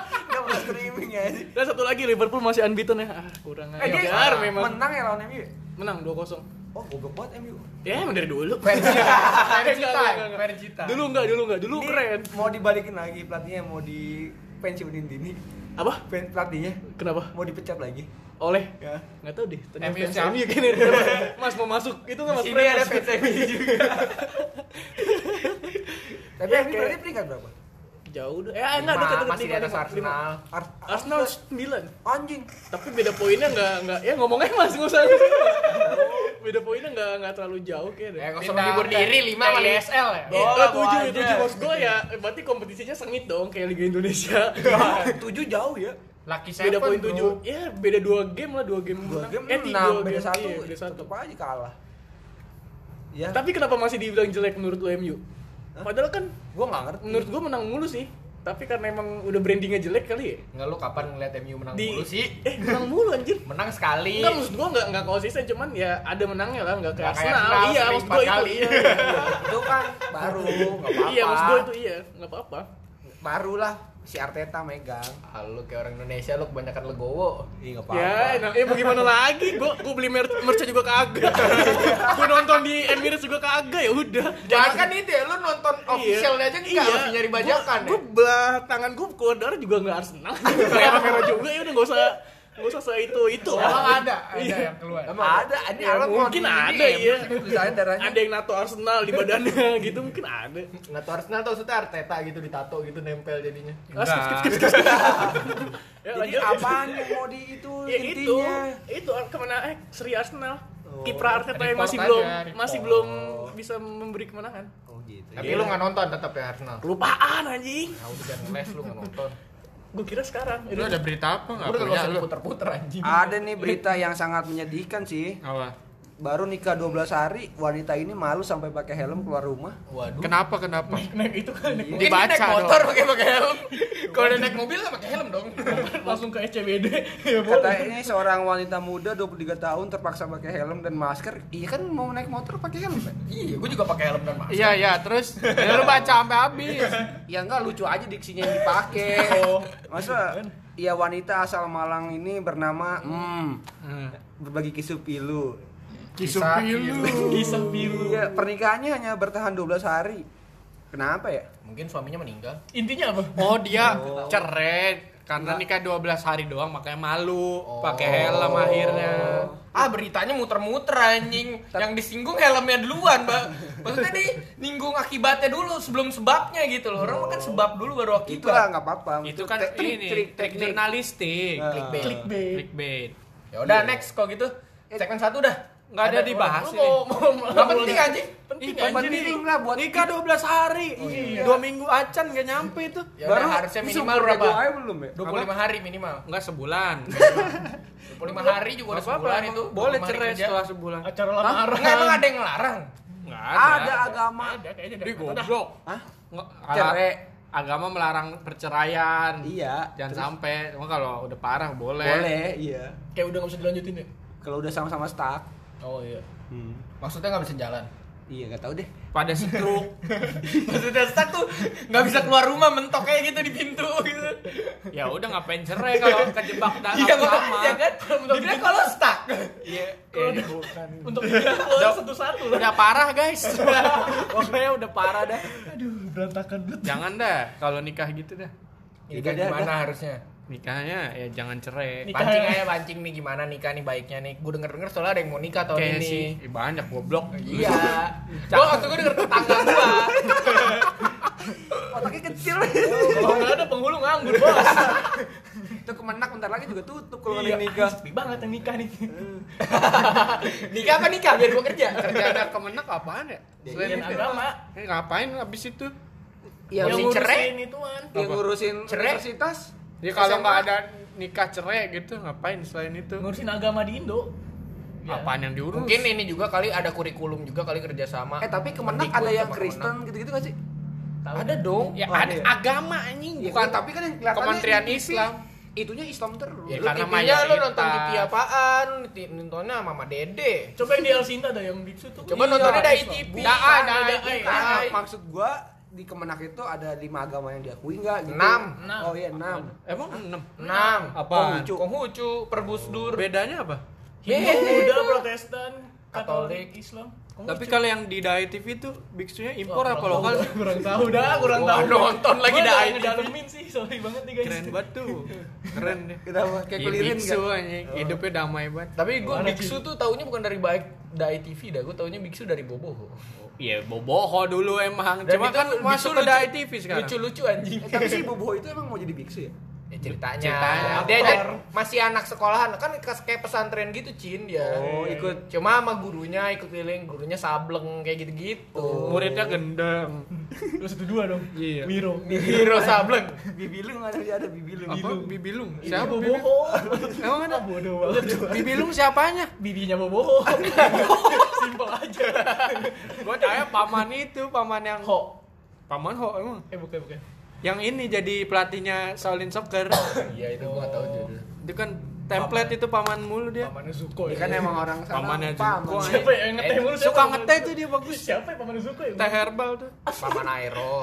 S4: Gak mau streaming ya.
S3: Dan satu lagi Liverpool masih unbeaten ya. Ah, kurang
S4: Eh, dia
S3: ajar memang.
S4: menang ya lawan MU.
S3: Menang 2-0.
S4: Oh, goblok banget MU.
S3: Ya emang dari dulu.
S5: Percita,
S3: Enggak, enggak, enggak.
S5: percita.
S3: Dulu enggak, dulu enggak, dulu
S4: Ini
S3: keren.
S4: Mau dibalikin lagi pelatihnya mau di pensiunin dini.
S3: Apa?
S4: Pen- Pelatihnya
S3: Kenapa?
S4: mau dipecat lagi.
S3: Oleh?
S4: Ya.
S3: Enggak tahu deh. Tadi
S1: MU
S3: fans
S1: siapa?
S3: MU gini. Mas mau masuk. Itu enggak masuk.
S1: Ini ada
S3: Mas.
S1: PT juga.
S4: Tapi
S3: Ya,
S4: MU
S3: kayak-
S4: berarti peringkat berapa?
S3: Jauh udah. Eh, enggak dekat dekat
S1: Masih di atas Arsenal.
S4: Ar-
S3: Arsenal 9.
S4: anjing.
S3: Tapi beda poinnya enggak enggak ya ngomongnya Mas enggak usah. Mas. Beda poinnya enggak enggak terlalu jauh
S1: Ya
S3: kayaknya. deh.
S1: kalau sama hibur diri 5 sama ESL ya.
S3: Eh, eh,
S4: bola,
S3: tujuh,
S4: bola aja.
S3: tujuh bos gue ya, eh, berarti kompetisinya sengit dong kayak Liga Indonesia.
S4: 7 jauh ya.
S1: Lucky
S3: beda
S1: Seven,
S3: poin
S1: bro.
S3: tujuh, ya beda dua game lah dua game
S4: dua
S3: menang.
S4: game
S3: eh, tiga
S4: enam beda
S3: game,
S4: satu
S3: iya, beda satu.
S4: tetep aja kalah ya
S3: Tapi kenapa masih dibilang jelek menurut lo MU?
S4: Hah?
S3: Padahal kan
S4: gue nggak ngerti
S3: menurut gue menang mulu sih. Tapi karena emang udah brandingnya jelek kali ya.
S1: Enggak lu kapan ngeliat MU menang
S3: Di-
S1: dulu sih? Iya.
S3: Eh menang mulu anjir.
S1: Menang sekali.
S3: Enggak maksud gue enggak enggak konsisten cuman ya ada menangnya lah enggak kayak
S1: Nggak kayak
S3: Arsenal.
S1: Arsenal,
S3: Iya
S1: sering
S3: maksud
S1: empat
S3: gue itu.
S1: kali.
S3: Iya,
S4: itu kan baru
S3: iya.
S4: nggak apa-apa
S3: iya maksud gue itu iya nggak apa-apa.
S4: baru lah si Arteta megang
S1: Ah, lu kayak orang Indonesia lu kebanyakan legowo.
S4: Ih, nggak apa-apa
S3: Ya, nah, eh bagaimana lagi? Gue gue beli mer merch juga kagak. gue nonton di Emirates juga kagak ya udah.
S1: Jangan kan itu ya, lu nonton officialnya aja enggak
S3: Iya.
S1: lebih nyari bajakan ya.
S3: Gue belah tangan gue keluar darah juga nggak Arsenal. Kayak merah juga ya udah nggak usah nggak usah se itu itu.
S5: Emang ada,
S1: ya?
S3: Iya.
S5: ada yang keluar.
S1: Emang
S4: ada ini
S3: Ya,
S4: alat mau
S3: mungkin
S4: di-
S3: ada
S4: ini,
S3: ya.
S4: tulisannya darahnya
S3: Ada yang nato Arsenal di badannya gitu mungkin ada.
S1: Nggak tuh Arsenal tau maksudnya Arteta gitu ditato gitu nempel jadinya
S3: Ah, skip, skip, skip, skip. Ya,
S4: jadi
S3: lanjut.
S4: apaan yang mau di itu
S3: Ya itu, ah,
S4: intinya
S3: itu kemana eh Sri Arsenal. kiprah Arteta yang
S6: Report
S3: masih
S6: aja,
S3: belum
S6: report.
S3: masih belum bisa memberi kemenangan.
S4: Oh gitu.
S1: Tapi lu nggak nonton tetap ya Arsenal. Nah,
S3: Kelupaan anjing.
S1: Tahu dan les lu nggak nonton.
S3: Gue kira sekarang.
S6: Lu ada berita apa nggak
S1: Udah nggak Ya,
S6: punya
S1: usah
S6: lu?
S1: puter-puter anjing.
S4: Ada nih berita yang sangat menyedihkan sih.
S6: Apa?
S4: Baru nikah 12 hari, wanita ini malu sampai pakai helm keluar rumah.
S1: Waduh.
S6: Kenapa kenapa?
S3: Naik itu kan
S1: Mungkin
S3: naik
S1: dia naik
S6: Dibaca
S1: motor
S6: dong.
S1: pakai pakai helm. Kalau dia naik mobil nggak pakai helm dong.
S3: motor, langsung ke SCBD. ya boleh.
S4: Katanya seorang wanita muda 23 tahun terpaksa pakai helm dan masker. Iya kan mau naik motor pakai helm. Pak?
S1: Iya, gue juga pakai helm dan masker.
S6: Iya iya terus ya lu baca sampai habis.
S4: Ya enggak lucu aja diksinya yang dipakai.
S3: Oh.
S4: Masa Iya wanita asal Malang ini bernama Hmm berbagi kisah pilu.
S6: Kisah
S1: Kisah
S6: pilu.
S3: Kisah biru.
S4: Iya, pernikahannya hanya bertahan 12 hari. Kenapa ya?
S1: Mungkin suaminya meninggal.
S3: Intinya apa?
S6: Oh dia cerai karena nikah 12 hari doang makanya malu pakai helm akhirnya.
S1: Ah beritanya muter-muter anjing Yang disinggung helmnya duluan mbak Maksudnya nih ninggung akibatnya dulu sebelum sebabnya gitu loh Orang makan sebab dulu baru
S4: Itulah
S1: akibat
S4: nggak apa-apa.
S2: Itu kan
S4: Trik- trik-
S2: ini
S4: trik-
S2: trik
S4: teknik.
S2: jurnalistik.
S4: Nah.
S1: Clickbait.
S3: Clickbait.
S2: Clickbait.
S1: Ya udah next kok gitu Segmen satu dah
S2: Nggak ada dibahas
S1: Lu mau- mau- mau- Nggak penting anjing
S3: Penting
S2: Ih,
S3: anjing.
S4: Penting lah buat
S2: Nikah 12 hari.
S3: iya.
S2: Dua minggu acan gak nyampe itu.
S1: Ya udah harusnya minimal berapa?
S4: Gue belum ya?
S1: 25 hari minimal
S2: Enggak sebulan.
S1: 25 hari juga udah
S2: Nggak apa-apa,
S1: sebulan
S2: emang
S1: itu
S2: Boleh
S1: 25 hari
S2: cerai
S1: kerja.
S2: setelah sebulan.
S3: Acara
S1: Nggak emang
S3: lamaran.
S1: ada yang ngelarang
S2: Enggak
S4: Ada agama.
S3: Ada kayaknya
S2: Di
S3: deh.
S2: goblok.
S4: Hah?
S2: Nggak-
S4: Cerai.
S2: Agama melarang perceraian.
S4: Iya.
S2: Jangan
S4: terus
S2: sampai. Cuma kalau udah parah boleh.
S4: Boleh, iya.
S3: Kayak udah nggak bisa dilanjutin ya.
S4: Kalau udah sama-sama stuck.
S1: Oh iya
S4: Hmm.
S1: Maksudnya nggak bisa jalan
S4: Iya, nggak tahu deh.
S2: Pada stroke.
S1: Maksudnya stuck tuh nggak bisa keluar rumah mentok kayak gitu di pintu gitu
S2: ya udah ngapain cerai kalau kejebak dalam
S1: Iya
S2: agama.
S1: makanya kan Dibilang kalau stuck
S2: Iya.
S3: Kalau-
S2: bukan.
S3: Untuk dia keluar satu-satu.
S1: Iya,
S2: Udah parah guys. Pokoknya udah parah dah.
S3: Aduh, berantakan banget.
S2: Jangan dah kalau nikah gitu dah.
S1: Ini
S4: Udah,
S1: kan
S4: dah,
S1: gimana harusnya?
S2: Nikahnya ya jangan cerai.
S3: Nikah.
S1: Pancing aja pancing nih gimana nikah nih baiknya nih. Gue denger denger soalnya ada yang mau nikah tahun
S2: Kayak
S1: ini.
S2: sih eh, banyak goblok.
S1: Iya. Gue waktu gue denger tetangga gue.
S4: Otaknya kecil.
S3: Kalau nggak ada penghulu nganggur, Bos.
S4: Itu kemenak bentar lagi juga tutup kalau
S3: Iya,
S4: nggak ada yang nikah.
S3: Sepi banget yang nikah nih.
S1: nikah apa nikah biar gue kerja.
S2: Kerjaan kemenak apaan ya?
S1: Iya.
S3: Selain agama,
S2: Eh, ngapain abis itu?
S1: Ya,
S3: yang
S1: mesti
S3: ngurusin
S1: cerai.
S3: itu kan.
S4: Yang
S2: Apa?
S4: ngurusin
S1: Cerai.
S4: universitas.
S2: Ya kalau
S1: SMA.
S2: nggak ada nikah cerai gitu ngapain selain itu?
S3: Ngurusin agama di Indo. Ya.
S2: Apaan yang diurus?
S1: Mungkin ini juga kali ada kurikulum juga kali kerja sama.
S4: Eh, tapi kemenak
S1: Mendikbud
S4: ada yang
S1: sama
S4: Kristen gitu-gitu nggak sih?
S1: Kemenak. Ada
S3: kan?
S1: dong.
S2: ya
S4: Oh,
S2: ada
S4: iya.
S2: agama anjing
S4: Iya,
S2: bukan
S4: tapi kan yang kelihatannya
S2: Kementerian
S4: di TV,
S2: Islam.
S4: Itunya Islam terus.
S1: Ya,
S2: Ya,
S1: lu
S2: karena
S1: TV-nya lu
S2: mayoritas.
S1: nonton TV apaan? Lu ti- Nontonnya Mama Dede.
S3: Coba yang di Alsinta ada yang biksu tuh.
S1: Coba
S3: Iya,
S1: nontonnya dari
S3: Islam.
S1: TV.
S2: Dah,
S1: Bukan,
S2: dah,
S1: dari
S2: dah,
S1: TV.
S4: Nah, maksud gua di kemenak itu ada lima agama yang diakui nggak? Gitu.
S1: Enam.
S3: Enam.
S4: Oh iya enam.
S2: Emang enam.
S1: Enam.
S2: Apaan?
S4: Konghucu.
S1: Konghucu, Perbusdur.
S2: Bedanya apa?
S3: Hindu, Buddha, Protestan,
S1: Katolik,
S3: Katolik, Islam.
S2: Tapi kalau yang di Dai TV tuh biksunya impor apa lokal? sih?
S3: Kurang tahu dah, kurang
S1: Wah,
S3: tahu.
S1: nonton lagi
S3: Gua
S1: dah
S3: nggak
S1: ini.
S3: ngedalemin sih, sorry banget nih guys.
S2: Keren banget tuh. Keren deh.
S4: Kenapa? Kayak
S2: Kayak Oh.
S4: kelirin
S2: Iya, biksu
S4: nggak?
S2: anjing, hidupnya damai banget.
S1: Tapi gue
S3: Gimana,
S1: biksu tuh taunya bukan dari baik dari TV dah, gue taunya biksu dari Boboho.
S2: Iya, boboho dulu emang.
S1: Dan
S2: Cuma
S1: itu
S2: kan
S1: biksu
S2: masuk ke
S1: lucu-
S2: Dai TV sekarang.
S1: Lucu-lucu anjing.
S4: Eh, tapi si Boboho itu emang mau jadi biksu ya?
S1: Ya, ceritanya.
S2: Ceritanya.
S1: Dia, dia
S3: Aktor.
S1: masih anak sekolahan, kan kas- kayak pesantren gitu Cin dia.
S4: Oh, ikut.
S1: Cuma sama gurunya ikut keliling, gurunya sableng kayak gitu-gitu.
S2: Muridnya gendeng.
S3: Lu satu dua dong.
S2: Iya.
S3: Wiro.
S1: Hero sableng.
S4: Bibilung ada dia ada bibilung.
S2: Apa? Bibilung.
S3: Siapa
S2: Siapa? Bibilung?
S3: boboho?
S2: Emang ada?
S3: Ah, Bodoh banget.
S2: Bibilung siapanya?
S3: Bibinya boboho. Simpel aja.
S2: Gue tanya paman itu, paman yang
S3: Ho.
S2: paman ho emang.
S3: Eh bukan bukan.
S2: Yang ini jadi pelatihnya Shaolin Soccer.
S1: Iya, itu gua gak tahu judulnya.
S2: itu kan template itu paman mulu dia.
S3: Pamannya Zuko ya.
S4: Kan emang orang sana.
S2: Pamannya
S4: paman.
S2: Zuko,
S3: Siapa yang ngeteh mulu? siapa
S2: Suka
S3: Paman
S2: ngeteh
S3: Zuko?
S2: tuh dia bagus.
S3: Siapa yang pamannya Zuko ya?
S2: Teh herbal tuh. Ah,
S1: Paman Aero.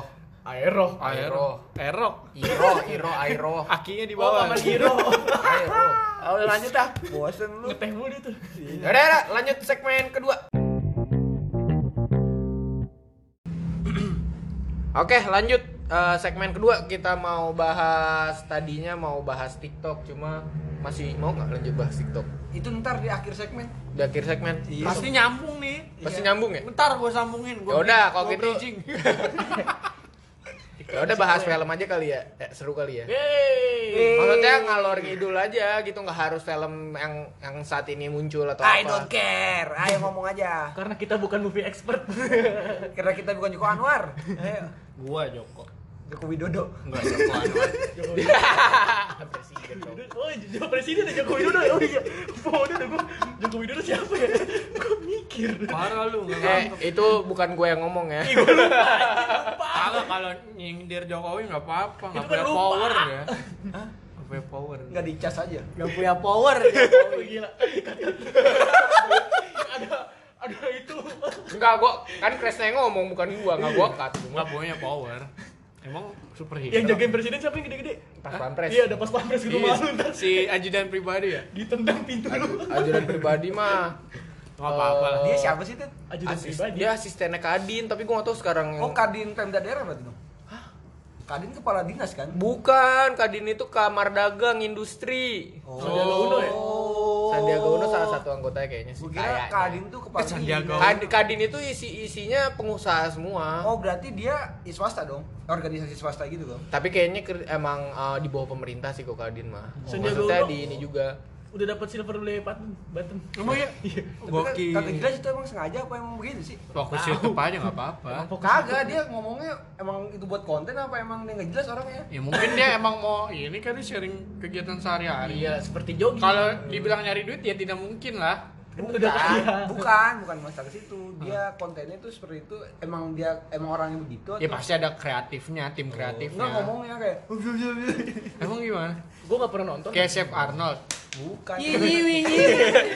S3: Aero.
S1: Aero.
S2: Erok.
S1: Iro, Iro, Aero.
S2: Akinya di
S3: Oh,
S2: bawah.
S3: paman Hiro.
S1: Aero.
S4: Ah, udah lanjut ah. Bosen lu.
S3: Ngeteh mulu dia tuh.
S1: Yaudah, yaudah, Ya lanjut segmen kedua. Oke, lanjut Eh, segmen kedua kita mau bahas tadinya mau bahas TikTok cuma masih mau nggak lanjut bahas TikTok
S4: Itu ntar di akhir segmen.
S1: di akhir segmen
S4: Iya.
S2: Pasti nyambung nih.
S1: pasti nyambung ya
S2: Bentar gue sambungin.
S1: Yaudah, kalau gitu. Ya udah bahas film aja kali ya. Eh, seru kali ya.
S3: Yeay.
S1: Maksudnya ngalor ngidul aja gitu nggak harus film yang yang saat ini muncul atau
S4: I
S1: apa.
S4: don't care. Ayo ngomong aja.
S3: Karena kita bukan movie expert.
S4: Karena kita bukan Joko Anwar. Ayo.
S2: Gua Joko.
S4: Joko Widodo.
S2: Enggak Joko Anwar.
S3: Oh, Joko Presiden ya Joko Widodo. Oh iya. Oh, udah gue Joko Widodo siapa ya? Gue mikir.
S2: Parah lu enggak
S1: Eh, itu bukan gue yang ngomong ya.
S2: Kagak kalau nyindir Jokowi enggak apa-apa, enggak
S3: Itu kan
S2: punya
S3: lupa.
S2: power ya. Nggak punya power.
S4: Enggak dicas aja.
S1: Gak punya power.
S3: Oh, gila. ada ada itu.
S1: Enggak, gue kan Kresna yang ngomong bukan gue, nggak gue cut.
S2: Enggak punya power. Emang superhero.
S3: Yang jagain presiden siapa yang gede-gede?
S1: Pas pampres.
S3: Iya, ada pas pampres gitu
S2: Iya,
S3: malu ntar
S2: si ajudan pribadi ya?
S3: ditendang pintu lu.
S1: Ajudan pribadi mah. eh,
S2: Enggak apa-apa lah.
S4: Dia siapa sih, Tit?
S3: Ajudan
S1: asis-
S3: pribadi.
S1: dia asistennya Kadin, tapi gue gak tahu sekarang yang...
S4: Oh, Kadin Pemda daerah berarti dong. Kadin kepala dinas kan?
S1: Bukan, Kadin itu kamar dagang industri.
S3: Sandiaga Uno ya?
S4: Oh.
S1: Sandiaga Uno salah satu anggotanya kayaknya sih.
S4: Gua kira
S1: Kayaknya.
S4: Kadin tuh kepala
S2: Eh, Sandiaga
S4: dinas.
S1: Kad- Kadin itu isi isinya pengusaha semua.
S4: Oh, berarti dia ya, swasta dong. Organisasi swasta gitu dong.
S1: Tapi kayaknya ker- emang eh, di bawah pemerintah sih kok Kadin mah.
S3: Sandiaga
S1: Maksudnya
S3: Uno.
S1: di ini juga.
S3: Udah dapat silver lay button. Button.
S2: Emang ya?
S4: Tapi
S2: Gokil.
S4: kan- kagak jelas itu emang sengaja apa emang begitu sih?
S2: Fokus YouTube aja enggak apa-apa.
S4: Kagak, dia ngomongnya emang itu buat konten apa emang dia nggak jelas orangnya?
S2: Ya mungkin dia emang mau ini kan dia sharing kegiatan sehari-hari.
S3: Iya, seperti jogging.
S2: Kalau dibilang nyari duit ya tidak mungkin lah.
S3: Udah kaya.
S4: Bukan, bukan, bukan masalah ke situ. Dia kontennya tuh seperti itu emang dia emang orangnya begitu
S2: Ya
S4: atau-
S2: pasti ada kreatifnya, tim
S4: Enggak
S2: kreatifnya.
S4: ngomongnya kayak "Uh,
S2: Emang gimana?
S3: Gue gak pernah nonton.
S2: Kayak Chef Arnold.
S4: bukan.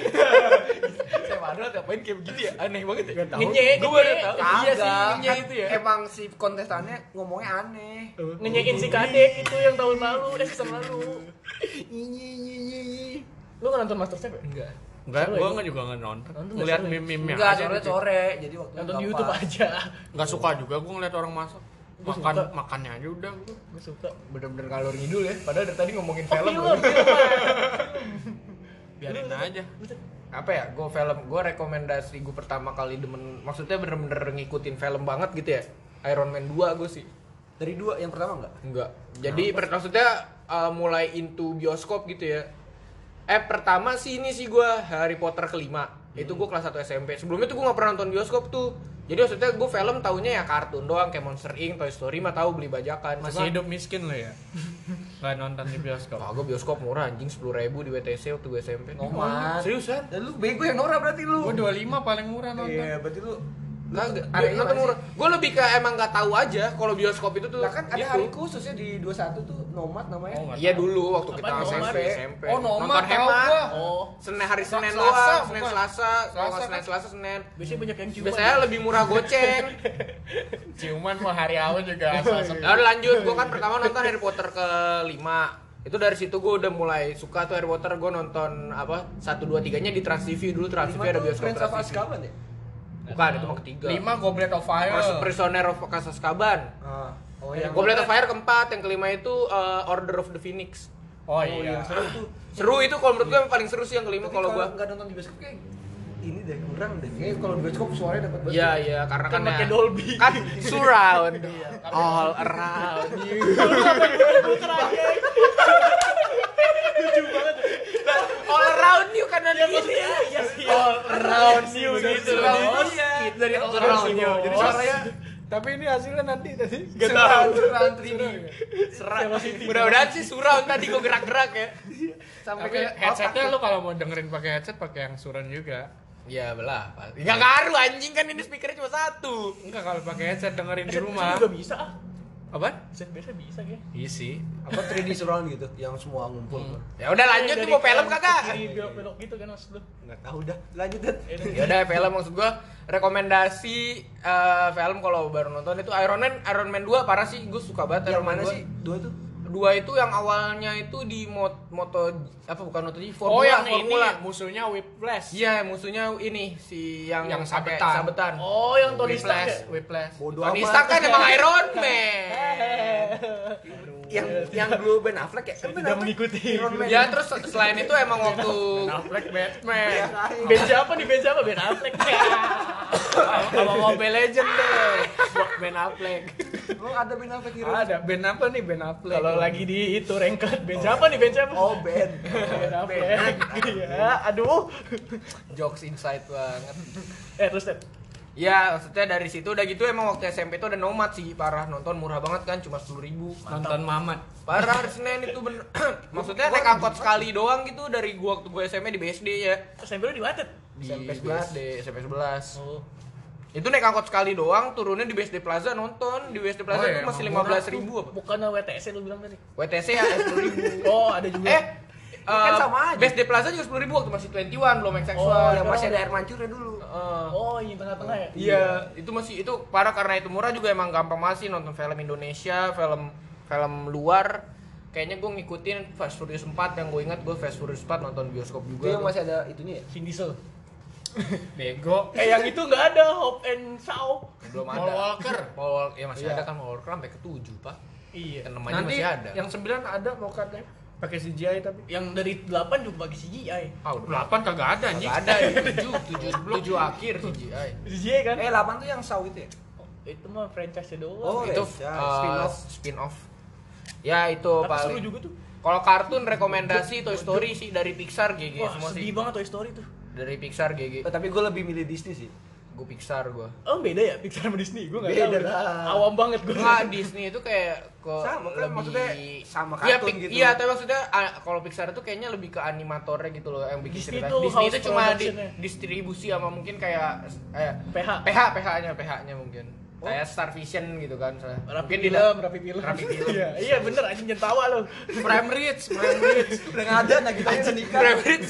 S1: Saya padahal ngapain kayak begitu ya? Aneh banget ya.
S3: Ngenye,
S1: Gue baru
S3: ngenye.
S1: tahu.
S4: Iya
S1: sih, ngenye
S4: itu ya. Emang si kontestannya ngomongnya aneh.
S3: Ngenyekin si kadek itu yang tahun lalu, eh season lalu. Lu gak nonton Masterchef ya?
S2: Enggak. Enggak,
S3: Seru
S2: gua
S3: ya?
S2: enggak juga enggak nonton.
S3: Nonton nggak
S2: Ngeliat
S3: seru ya?
S2: meme-meme
S4: Enggak,
S2: Iya, aja.
S4: soalnya sore. Jadi waktu
S3: Nonton di YouTube aja.
S2: Enggak suka juga gua ngeliat orang masak.
S3: Gua
S2: Makan
S3: suka.
S2: makannya aja udah gua.
S3: Gue suka.
S1: Bener-bener ngalor ngidul ya. Padahal dari tadi ngomongin
S3: Oh,
S1: film.
S3: film,
S1: gua.
S2: Biarin aja.
S1: apa ya gue film gue rekomendasi gue pertama kali demen maksudnya bener-bener ngikutin film banget gitu ya Iron Man 2 gue sih
S4: Dari dua yang pertama enggak?
S1: enggak jadi per- maksudnya uh, mulai into bioskop gitu ya eh pertama sih ini sih gue Harry Potter kelima itu
S2: Hmm.
S1: gue kelas 1 SMP sebelumnya tuh gue nggak pernah nonton bioskop tuh jadi maksudnya gue film taunya ya kartun doang kayak Monster Inc, Toy Story mah tahu beli bajakan
S2: Masih hidup miskin lo ya. Enggak nonton di bioskop.
S1: Kagak bioskop murah anjing 10.000 di WTC waktu gue SMP.
S2: Oh,
S4: Noman.
S1: Seriusan?
S4: Dan lu bego yang Nora berarti lu.
S2: Gua 25 paling murah nonton.
S4: Iya, berarti lu
S1: Kagak,
S4: Ada
S1: ada nonton
S4: masih.
S1: murah. Gue lebih ke emang nggak tahu aja kalau bioskop itu tuh.
S4: lah kan ada
S1: gitu.
S4: hari khususnya di 21 tuh nomad
S2: Oh,
S4: namanya.
S2: enggak.
S1: Iya dulu waktu kita
S3: Apaan,
S1: SMP.
S3: nomad?
S1: SMP.
S2: Oh, nomad,
S1: Nonton
S2: tahu
S1: hemat.
S3: Iya.
S2: gua.
S1: Oh. Senin hari
S2: Sa-
S1: Senin
S2: Selasa,
S1: doang, Senin
S2: bukan.
S1: Selasa, kalau nggak
S2: Selasa
S1: Senin
S2: kan?
S1: Selasa Senin.
S3: Biasanya banyak yang ciuman.
S1: Biasanya lebih murah goceng.
S2: Ciuman mau hari awal juga asal
S1: Lalu lanjut, gue kan pertama nonton Harry Potter kelima itu dari situ gue udah mulai suka tuh Harry Potter gue nonton apa satu dua tiganya di Trans TV dulu Trans TV
S4: Lima
S1: ada
S4: tuh
S1: bioskop
S4: Prince of
S1: Trans TV
S4: Azkaban ya?
S1: bukan itu mah ketiga
S2: 5 Nah, Goblet of Fire.
S1: Pris- Prisoner of Azkaban
S4: Ah, Oh
S1: Gue
S4: yang
S1: Goblet of Fire keempat, yang kelima itu uh, Order of the Phoenix.
S2: Oh
S4: Oh,
S2: iya.
S4: yang seru tuh.
S1: Seru itu kalau menurut gue yang paling seru sih yang kelima
S4: Tapi
S1: kalau gue.
S4: nggak nonton di bioskop kayak ini deh kurang deh. Kayaknya kalau di bioskop suaranya dapat banget.
S1: Iya iya karena kan
S3: Kan
S1: ya,
S3: pakai Iya, Dolby.
S1: kan surround
S3: kan
S1: all around you.
S3: lucu banget.
S1: Nah, all around you karena dia
S3: Iya, iya sih.
S1: around
S3: you gitu.
S1: Surround
S3: Iya.
S1: you. Dari all around you.
S3: Oh,
S1: Jadi suaranya
S2: Tapi ini hasilnya nanti tadi.
S4: Surround, surround 3D.
S1: surround. Mudah-mudahan sih surround tadi gue gerak-gerak ya. Sampai
S2: Tapi headsetnya lu kalau mau dengerin pakai headset pakai yang surround juga.
S1: Ya
S3: Iya,
S1: belah. Enggak ngaruh anjing kan ini speakernya cuma satu.
S2: Enggak kalau pakai headset dengerin di
S3: Set
S2: rumah.
S3: juga bisa ah.
S2: Apa?
S3: Set biasa bisa kayak.
S2: Iya sih.
S4: Apa 3D surround gitu yang semua ngumpul.
S1: Ya udah
S3: Iya,
S1: lanjut nih mau film kagak?
S3: Di belok gitu kan maksud lu. Eh,
S4: Enggak tahu dah. Lanjut deh.
S1: ya udah film maksud gua rekomendasi eh, film kalau baru nonton itu Iron Man Iron Man 2 parah sih gue suka banget
S4: Yang
S1: Iron Man
S4: mana
S1: 2.
S4: sih? Dua tuh.
S1: dua itu yang awalnya itu di mot moto apa bukan moto di formula
S2: oh yang
S1: formula
S2: ini musuhnya Whiplash.
S1: iya musuhnya ini si yang
S2: Yang
S1: pakai
S2: sabetan.
S1: sabetan
S3: Oh, yang Tony
S2: Whiplash,
S3: Stark ya?
S2: Whiplash.
S4: Bodoh
S1: Tony
S4: amat.
S1: Stark kan emang Iron Man
S3: Eh.
S4: yang
S1: Iya.
S4: yang dulu Ben Affleck ya? Kan Ben
S3: tidak
S4: Affleck
S3: mengikuti.
S4: Iron Man.
S1: ya terus selain itu emang waktu
S2: Black Batman.
S4: Yang lain.
S3: Benja apa nih Benja apa? Ben Affleck.
S2: Sama Mobile Legend deh.
S7: Ben Affleck.
S4: Lo Oh, ada Ben Affleck hero?
S7: Ada Ben apa nih Ben Affleck?
S3: Kalau lagi di itu rengket bench apa nih bench apa?
S4: Oh Ben.
S3: Ben Affleck. Iya, aduh.
S1: jokes inside banget
S3: Eh terus Ted.
S1: ya maksudnya dari situ udah gitu emang waktu SMP itu ada nomad sih parah nonton murah banget kan cuma sepuluh ribu
S7: nonton Mamat.
S1: parah hari Senin itu bener maksudnya naik angkot sekali doang gitu dari gua waktu gua SMP di BSD ya
S3: SMP lu di mana Ted?
S1: di
S4: SMP
S1: BSD SMP 11
S3: Oh.
S1: itu naik angkot sekali doang turunnya di BSD Plaza nonton di BSD Plaza
S2: Oh,
S1: itu
S2: iya,
S1: masih lima
S2: emang
S1: belas ribu apa
S3: Bukan WTC lu bilang tadi.
S1: WTC ya sepuluh ribu
S3: Oh, ada juga.
S1: eh eh,
S4: Kan sama aja.
S1: BSD Plaza juga sepuluh ribu waktu masih 21 belum
S4: Oh, iya.
S1: seksual Eh,
S4: yang masih ada air mancurnya dulu.
S3: oh, ini tengah-tengah ya.
S1: Iya, itu masih itu parah karena itu murah juga emang gampang masih nonton film Indonesia, film film luar. Kayaknya gue ngikutin Fast Furious 4 yang gue ingat gue Fast Furious 4 nonton bioskop
S4: Itu
S1: juga.
S4: yang masih ada itunya ya?
S3: Vin Diesel.
S2: Bego.
S3: Eh yang itu nggak ada Hope and Shaw.
S1: belum ada.
S2: Paul Walker.
S1: Paul Wal- ya masih
S3: Iya.
S1: ada kan Paul Walker sampai ke 7, Pak.
S3: Iya.
S1: Yang namanya
S7: Nanti
S1: masih ada.
S7: yang 9 ada mau katanya. Pakai CGI tapi.
S3: Yang dari 8 juga bagi CGI.
S1: Ah, udah.
S2: 8 kagak ada anjing.
S1: Gak ada ya, 7, 7, 7 akhir CGI.
S3: CGI kan?
S4: Eh 8 tuh yang saw itu ya?
S3: Itu mah franchise
S4: Oh,
S3: doang.
S1: itu
S4: iya,
S1: spin-off
S4: spin-off.
S1: spin-off. Ya itu
S3: Tapi seru
S1: paling.
S3: juga tuh.
S1: Kalau kartun rekomendasi Toy Story sih dari Pixar GG
S3: Wah,
S1: Iya, semua
S3: sedih
S1: sih.
S3: banget Toy Story tuh.
S1: Dari Pixar GG.
S4: Eh, tapi gue lebih milih Disney sih.
S1: Gue Pixar gue.
S3: Oh beda ya Pixar sama Disney, gue nggak
S4: Beda
S3: tahu.
S4: lah.
S3: Awam banget gue.
S1: Enggak, Disney itu kayak ke
S4: Sama, kan? Maksudnya sama
S1: Iya,
S4: kartun
S1: pi-
S4: gitu.
S1: Iya, tapi maksudnya ah, kalau Pixar itu kayaknya lebih ke animatornya gitu loh yang bikin
S3: Disney
S1: cerita.
S3: tuh
S1: Disney
S3: house
S1: itu cuma di,
S3: production-nya.
S1: distribusi sama mungkin kayak eh,
S3: PH.
S1: PH PH-nya, PH-nya mungkin. Kayak Star Vision gitu kan. soalnya.
S3: Oh. Rapi
S1: Mungkin di
S3: film, rapi film.
S1: Rapi film.
S3: Iya, iya bener anjing jangan tawa lo.
S2: Prime Reach, Prime Reach.
S4: Udah nggak ada, nah kita aja nikah.
S1: Favorite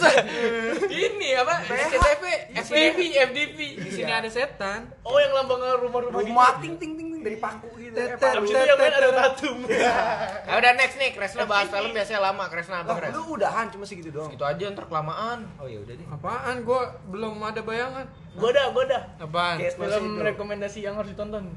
S1: ini apa? SCTV, FDP, FDP.
S2: Di sini ada setan.
S3: Oh yang lambang rumah-rumah gitu.
S4: Rumah ting ting ting ting, dari paku gitu. Eh, paku.
S3: Abis itu yang main
S1: Iya.
S3: ada Tatum.
S1: Nah, udah next nih, Kresna bahas film biasanya lama, Kresna apa
S4: Lah,
S1: Kres?
S4: lu udahan cuma segitu doang.
S1: Gitu aja ntar kelamaan.
S4: Oh ya udah deh.
S2: Apaan gua belum ada bayangan.
S3: Gue dah, gue dah.
S2: Apaan?
S4: Kayak
S3: Film
S4: Smash itu.
S3: rekomendasi yang harus ditonton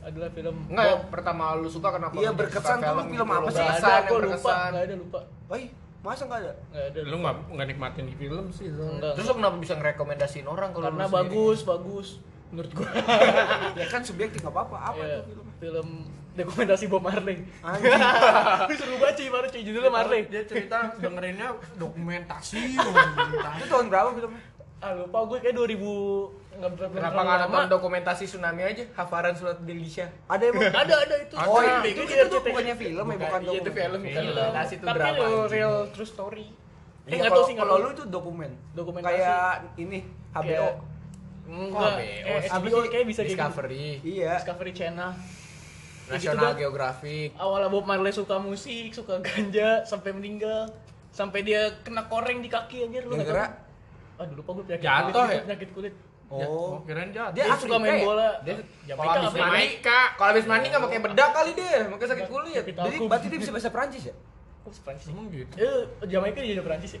S3: adalah film
S1: Enggak, yang pertama lu suka kenapa?
S4: Iya,
S1: lu
S4: berkesan
S1: suka
S4: tuh lu film
S1: gitu
S4: apa
S1: loh.
S4: sih?
S1: Berkesan,
S3: Gak ada,
S1: yang
S3: gue lupa.
S1: berkesan.
S3: Gak ada, lupa.
S4: Woi, masa nggak ada?
S3: Gak ada.
S2: Lu nggak nggak nikmatin di film sih. soalnya.
S3: Enggak.
S1: Terus lo kenapa bisa ngerekomendasiin orang kalau
S3: Karena
S1: lu sendiri?
S3: bagus, bagus. Menurut gue.
S4: Ya kan subjektif nggak apa-apa. Apa
S3: Iya,
S4: tuh film?
S3: film rekomendasi Bob Marley.
S4: Anjing.
S3: Lu seru banget cuy, baru cuy judulnya Marley.
S2: Dia cerita dengerinnya dokumentasi.
S4: Itu tahun berapa filmnya?
S3: Ah lupa gue kayak 2000 nggak berapa
S1: Kenapa nggak nonton dokumentasi tsunami aja? Hafaran surat Delisha.
S4: Ada emang.
S3: Ada ada itu.
S2: Ada.
S4: Oh,
S3: Iya,
S4: itu, itu,
S3: di
S4: itu,
S3: RCTI.
S4: bukannya film ya, bukan
S1: Iya itu film, bukan
S2: Film.
S1: dokumentasi itu
S3: Tapi
S1: drama.
S3: real,
S1: anjing.
S3: real true story. Eh nggak
S4: Iya,
S3: tahu
S4: kalau
S3: sih nggak
S4: kalau
S3: tahu.
S4: lu itu dokumen.
S3: Dokumentasi.
S4: Kayak ini HBO.
S3: Kayak-
S4: Oh,
S3: Enggak,
S1: Kok
S3: eh,
S1: HBO sih?
S3: HBO kayak bisa kayak gitu.
S1: Discovery,
S4: Iya.
S3: Discovery Channel. Kayak gitu
S1: National
S3: dah.
S1: Geographic.
S3: Awalnya Bob Marley suka musik, suka ganja, sampai meninggal. Sampai dia kena koreng di kaki anjir lu nggak
S4: Gara-gara?
S3: tahu. Aduh lupa gue penyakit
S2: Jatuh
S3: kulit,
S2: ya?
S3: penyakit kulit.
S4: Oh.
S2: Kirain jahat.
S4: Dia
S3: Dia, suka
S4: Afrika
S3: main
S4: ya?
S3: bola.
S1: Dia kalau
S3: Jamaika
S1: habis
S3: nggak main.
S1: mandi, kalau habis mandi nggak pakai bedak kali deh, pakai sakit kulit.
S3: Tapi tahu
S4: Jadi
S3: aku-
S4: berarti dia bisa bahasa Perancis ya?
S3: aku Prancis sih.
S2: Emang gitu.
S3: Eh, Jamaika jadi Prancis ya?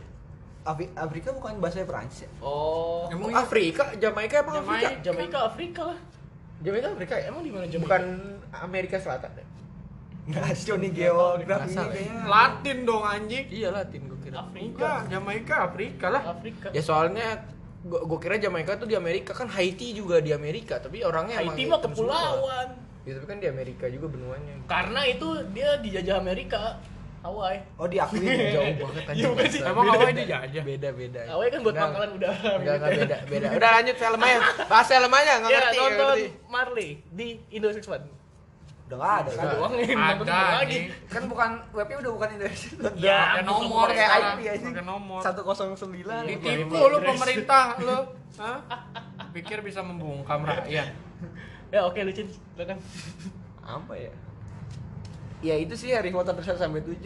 S4: Afri- Afrika bukan bahasa Perancis ya?
S3: Oh.
S1: Emang
S2: iya.
S1: Afrika, Jamaika emang Afrika?
S2: Jamaika.
S3: Jamaika Afrika lah.
S1: Jamaika Afrika ya?
S3: Emang di mana Jamaika?
S1: Bukan Amerika Selatan ya?
S4: Nasional nih geografi
S1: Nggak salah
S4: ini kayaknya.
S2: iya. Latin dong anjing.
S1: Iya Latin gue kira.
S3: Afrika.
S2: Enggak, Jamaika Afrika lah.
S3: Afrika.
S1: Ya soalnya gua, gua kira Jamaika tuh di Amerika kan Haiti juga di Amerika tapi orangnya emang
S3: Haiti mah
S1: hitam semua.
S3: kepulauan.
S1: Ya tapi kan di Amerika juga benuanya.
S3: Karena itu dia dijajah Amerika. Hawaii.
S4: Oh diakui
S1: Jauh banget
S3: Iya, bukan sih.
S2: Emang awalnya dia
S1: ya,
S2: aja.
S1: Beda-beda.
S3: Hawaii kan buat
S1: Enggak,
S3: pangkalan udara. Iya,
S1: Enggak, enggak
S3: militer.
S1: beda, beda. Udah lanjut film aja. Bahas film aja enggak
S3: Ya,
S1: ngerti. nggak
S3: nonton
S1: ngerti.
S3: Marley di Indo 61.
S4: Udah nggak ada kan?
S3: Ada doang ini, nonton
S2: Ada
S3: apa
S2: lagi.
S3: lagi.
S4: Kan bukan webnya udah bukan Indonesia.
S3: Ya,
S2: Pakai nomor
S4: Pakai
S2: sekarang.
S4: IP aja.
S2: Pakai nomor.
S4: 109.
S1: Iya.
S2: Ditipu lu pemerintah lu. Hah? Pikir bisa membungkam rakyat.
S3: Ya oke lucin, silakan.
S4: Apa ya? Ya itu sih Harry Potter terus sampai 7.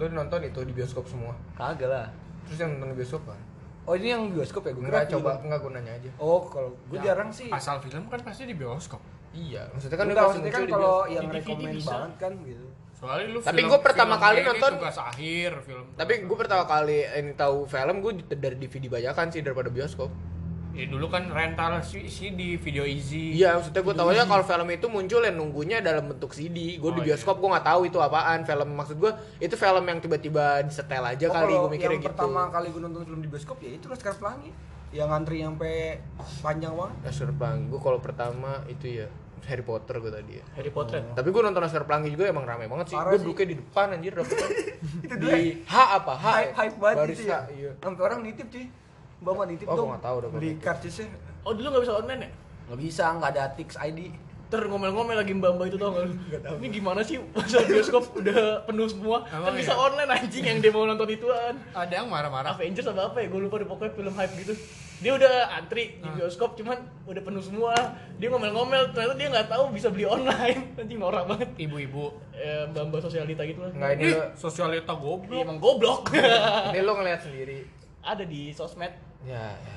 S1: Lu nonton itu di bioskop semua.
S4: Kagak lah.
S1: Terus yang nonton di bioskop kan?
S4: Oh ini yang bioskop ya? Gua kira
S1: Enggak
S4: film.
S1: coba enggak gunanya aja.
S4: Oh kalau gue jarang sih.
S2: Asal film kan pasti di bioskop.
S1: Iya, maksudnya kan
S4: Kan
S1: lu
S4: enggak
S1: pasti
S4: maksudnya
S1: muncul
S4: kan
S1: di
S4: kalau
S1: bioskop.
S4: yang
S3: Di DVD
S4: rekomend
S3: bisa.
S4: banget kan gitu.
S2: Soalnya lu
S1: Tapi
S2: film-
S1: gua pertama
S2: film
S1: kali
S2: ini
S1: nonton-
S2: tugas akhir film.
S1: Tapi gue pertama kali ini tahu film gue dari DVD bajakan kan sih daripada bioskop.
S2: Ya, dulu kan rental si, si di video easy.
S1: Iya, maksudnya gue tau aja kalau film itu muncul yang nunggunya dalam bentuk CD. Gue di
S2: Oh,
S1: bioskop gue nggak tahu itu apaan. Film maksud gue itu film yang tiba-tiba disetel aja
S4: Oh,
S1: kali
S4: kalau
S1: gue mikirnya
S4: yang
S1: gitu.
S4: pertama kali gue nonton film di bioskop ya itu Laskar Pelangi. Yang ngantri sampai panjang banget.
S1: Laskar Pelangi. Gue kalau pertama itu ya Harry Potter gue tadi ya.
S3: Harry Potter.
S1: Tapi gue nonton Laskar Pelangi juga emang rame banget sih.
S4: Parah
S1: Gue
S4: sih.
S1: duduknya di depan anjir dapet.
S4: itu dia
S1: di H apa? H. ya?
S4: hype hype banget
S1: Barista,
S4: gitu ya
S1: Iya.
S4: sampai orang nitip cuy bapak nitip
S1: Oh, gua
S4: dong
S1: nggak tahu dah gua
S4: beli ya.
S1: nitip.
S4: karcisnya
S3: Oh dulu nggak bisa online ya?
S4: nggak bisa nggak ada tix ID
S3: Ter ngomel-ngomel lagi mbak mbak itu tau gak lu? Ini gimana sih masa bioskop udah penuh semua? Kan
S2: Emang
S3: bisa
S2: iya?
S3: online anjing yang dia mau nonton ituan.
S2: Ada yang marah-marah.
S3: Avengers apa apa ya? Gue lupa deh pokoknya film hype gitu. Dia udah antri di bioskop cuman udah penuh semua. Dia ngomel-ngomel ternyata dia nggak tahu bisa beli online. Anjing norak banget.
S2: Ibu-ibu.
S3: Eh, mbak mbak sosialita gitu lah.
S1: Enggak ini
S2: Ih,
S1: lo,
S2: sosialita
S3: Dia
S2: goblok.
S3: emang goblok.
S1: ini lo ngeliat sendiri.
S3: Ada di sosmed.
S1: Ya, ya.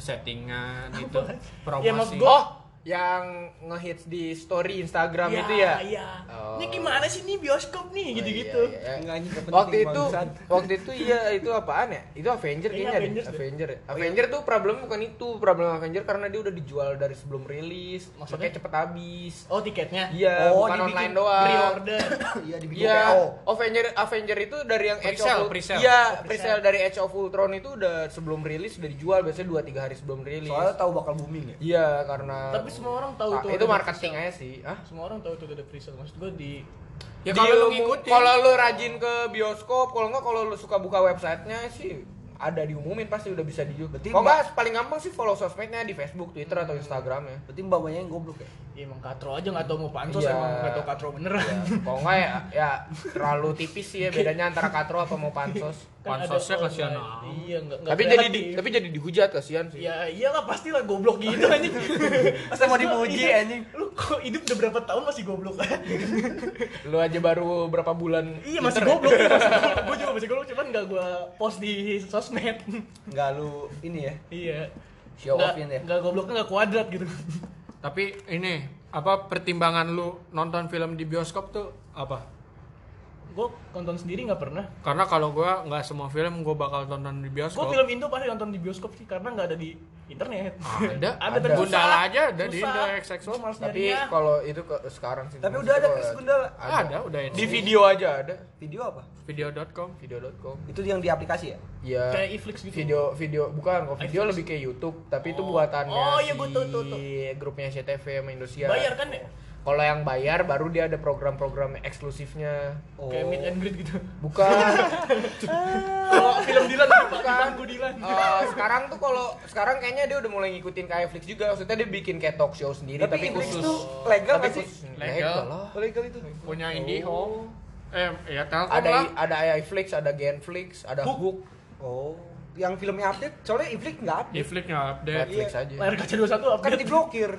S2: Settingan gitu. Promosi.
S3: Ya, maksud gua-
S1: Oh, yang ngehits di story Instagram itu ya.
S3: Iya.
S1: Oh.
S3: Ini gimana sih nih bioskop nih gitu-gitu.
S1: Oh, iya, iya.
S4: Nggak, anjing, nggak penting,
S1: Waktu itu,
S4: bangsat.
S1: waktu itu iya itu apaan ya? Itu Avenger
S3: Kayaknya
S1: kayaknya deh.
S3: Iya, Avengers deh. Oh, iya.
S1: Avenger. ya. Avenger tuh problem bukan itu, problem Avenger karena dia udah dijual dari sebelum rilis.
S3: Maksudnya?
S1: Maksudnya cepet habis.
S3: Oh tiketnya?
S1: Iya,
S4: Oh,
S1: bukan
S4: dibikin
S1: online doang.
S3: Pre-order.
S4: iya dibikin PO
S1: Iya, Avenger Avenger itu dari yang Age of
S2: Pre-sale,
S1: Ult-
S2: pre-sale.
S1: Iya,
S3: Oh,
S1: pre-sale dari Age of Ultron itu udah sebelum rilis udah dijual biasanya 2 3 hari sebelum rilis.
S4: soalnya tahu bakal booming ya
S1: iya, karena
S3: Tapi semua orang
S1: Ah,
S3: tahu itu.
S1: itu
S3: ada
S1: marketing
S3: pre-sale.
S1: aja sih. Hah?
S3: Semua orang tahu itu ada pre-sale. Maksud gue di
S2: Ya
S1: Di
S2: kalau lu
S1: lu-
S2: ngikutin.
S1: kalau lu rajin ke bioskop, kalau enggak kalau lu suka buka websitenya sih ada diumumin pasti udah bisa dijual.
S4: Berarti
S1: Kalau enggak paling gampang sih follow sosmednya di Facebook, Twitter atau Instagram ya.
S4: berarti mbaknya yang goblok ya
S3: ya, emang katro aja nggak tahu mau pansos
S1: Iya.
S3: emang nggak tahu katro beneran.
S1: Ya, Kalau enggak ya, ya terlalu tipis sih ya bedanya antara katro apa mau pansos.
S3: Kan ada
S2: Pansosnya
S3: online.
S2: kasihan amat.
S3: Iya nggak. nggak
S1: tapi jadi
S3: kreatif.
S1: di- tapi jadi dihujat kasihan sih.
S3: Ya iyalah pastilah goblok gitu anjing.
S4: Masa mau dipuji,
S3: Iya.
S4: anjing?
S3: Lu kok hidup udah berapa tahun masih goblok aja?
S1: Lu aja baru berapa bulan
S3: iya masih
S4: ya?
S3: goblok. iya, masih goblok. Gue juga masih goblok cuman nggak gue post di sosmed.
S4: nggak lu ini ya
S3: iya.
S4: show
S3: Nggak-
S4: offin ya
S3: Nggak gobloknya nggak kuadrat gitu.
S2: Tapi ini apa pertimbangan lu nonton film di bioskop tuh apa?
S3: gue nonton sendiri nggak pernah
S2: Karena kalau gua nggak semua film gua bakal tonton di
S3: gue
S2: bioskop.
S3: film Indo pasti nonton di bioskop sih karena nggak ada di internet
S2: Ada,
S3: ada,
S2: ada.
S3: tapi susah.
S2: Gundala aja ada di
S3: Susah.
S2: Indo XXO.
S3: Gua males
S1: tapi
S3: nyarinya.
S1: kalau itu ke- sekarang sih
S4: tapi
S1: maksudnya
S4: udah ada
S1: kalau-
S4: Chris Gundala
S2: ada, udah ya.
S1: di video aja ada
S4: video apa
S2: video.com.
S1: video.com
S4: itu yang di aplikasi ya
S1: ya
S3: kayak Netflix gitu
S1: video video bukan kok video lebih ke YouTube tapi itu buatannya
S3: Oh,
S1: si
S3: iya, gua tuh, tuh, tuh.
S1: grupnya CTV sama Indonesia
S3: bayar kan ya
S1: kalau yang bayar baru dia ada program-program eksklusifnya
S3: kayak meet
S4: Oh.
S3: and greet gitu
S1: bukan
S3: kalau film Dilan
S4: Kan.
S3: bukan gue Dilan
S1: Eh, sekarang tuh kalau sekarang kayaknya dia udah mulai ngikutin kayak Netflix juga maksudnya dia bikin kayak talk show sendiri tapi,
S4: Netflix
S1: khusus
S4: tuh legal
S1: tapi
S4: nggak sih
S1: khusus Ya,
S2: Legal.
S1: legal lah
S4: legal itu
S2: Punya IndiHome. Eh, ya Telkom
S1: ada
S2: lah.
S1: I- ada iFlix, ada Genflix, ada
S3: Hook.
S1: Hook,
S4: oh yang filmnya update soalnya Iflik nggak update
S2: Netflix nggak update.
S1: Netflix aja.
S3: layar kaca 21 satu
S4: kan
S3: update
S4: diblokir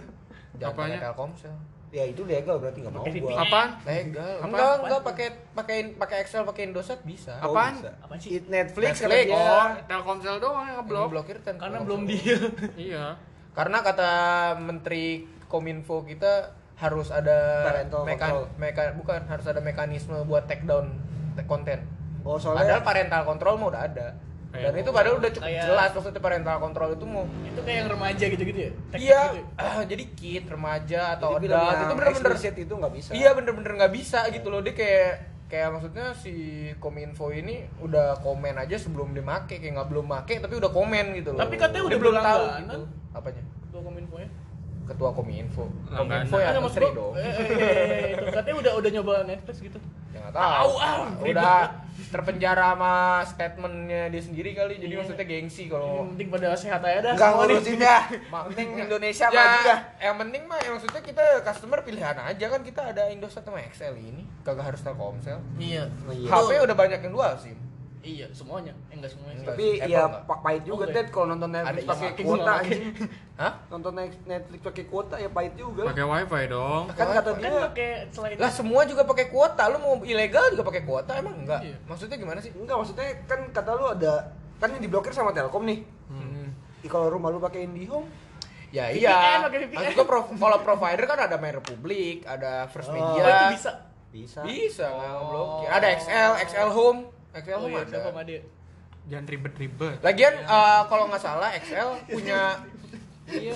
S1: Jangan pakai
S2: Apanya?
S1: Telkomsel.
S4: ya itu legal berarti nggak mau
S3: Pakai
S4: gua
S2: Apaan?
S1: Legal.
S2: Apa?
S1: Enggak, enggak pakai pakai pakai Excel, pakai Indosat bisa.
S4: Oh,
S2: Apaan?
S4: bisa.
S3: Apaan sih?
S4: It- Netflix,
S1: Netflix,
S4: Netflix.
S2: Oh, Telkomsel doang yang
S1: Belum
S2: ngeblok.
S1: blokir Telkomsel.
S3: karena belum deal
S2: Iya.
S1: kan Karena kata Menteri Kominfo kita harus ada
S4: Parental
S1: mekan
S4: control.
S1: meka- bukan harus ada mekanisme buat take down te- konten.
S4: Oh,
S1: Padahal
S4: soalnya
S1: parental control mah udah ada. Dan
S2: Kayak-
S1: itu padahal udah cukup
S3: kayak-
S1: jelas maksudnya parental control itu mau
S3: itu kayak yang remaja gitu-gitu ya Tek-tek gitu
S1: Iya,
S3: ya?
S1: jadi kid remaja atau
S4: Jadi film
S1: adult
S4: yang
S1: itu bener-bener
S4: explicit itu nggak bisa
S1: Iya bener-bener nggak bisa gitu loh dia kayak kayak maksudnya si kominfo ini udah komen aja sebelum dia make kayak nggak belum make tapi udah komen gitu loh.
S3: Tapi katanya
S1: Dia
S3: udah
S1: belum tahu
S3: berlangganan.
S1: gitu. Apanya?
S3: Gua kominfo ya
S1: Ketua kominfo.
S2: Langganan.
S1: Kominfo ya
S3: Ada maksud
S1: menteri
S3: gua-
S1: dong.
S3: eh, eh, eh, eh, itu. katanya udah udah nyoba Netflix gitu
S1: Ya nggak
S3: Tahu,
S1: tahu.
S3: ah, menteri
S1: udah terpenjara sama statementnya dia sendiri kali jadi
S3: Iya.
S1: maksudnya gengsi
S3: yang
S1: kalau
S3: penting pada sehat aja dah
S4: nggak
S3: Semua nih.
S4: ngurusin ya
S1: Penting
S4: Indonesia
S1: ya,
S4: maju dah.
S1: yang penting mah yang maksudnya kita customer pilihan aja kan kita ada Indosat sama Excel ini kagak harus Telkomsel.
S3: iya
S1: HP udah banyak yang dual SIM.
S3: iya semuanya eh enggak semuanya sih.
S1: Enggak.
S4: tapi
S1: Apple
S4: ya
S1: nggak?
S4: pa- pahit juga
S3: Oke.
S4: Ted kalau nonton Netflix
S1: Ada
S4: pakai
S3: isi.
S4: kuota
S3: Nggak pakai.
S4: anjing
S1: Hah?
S4: nonton Net- Netflix pakai kuota ya pahit juga
S2: Pakai WiFi dong.
S4: kan kata
S3: kan
S4: dia
S3: pakai selain
S1: Lah semua juga pakai kuota, lu mau ilegal juga pakai kuota emang enggak?
S3: Iya.
S1: Maksudnya gimana sih?
S4: enggak maksudnya kan kata lu ada kan ini diblokir sama Telkom nih Ih, kalau rumah lu pakai IndiHome
S1: Hmm. Ya
S3: VPN,
S1: iya.
S3: pakai VPN.
S1: Maksud gua pro- kalau provider kan ada My Republic, ada First
S4: Oh,
S1: Media.
S3: oh, itu bisa
S4: bisa
S1: Bisa nggak ngeblokir. Ada XL, XL Home, XL
S3: oh
S1: Home
S3: iya
S1: ada.
S3: udah ada
S2: Jangan ribet-ribet.
S1: Lagian eh, kalau nggak salah XL punya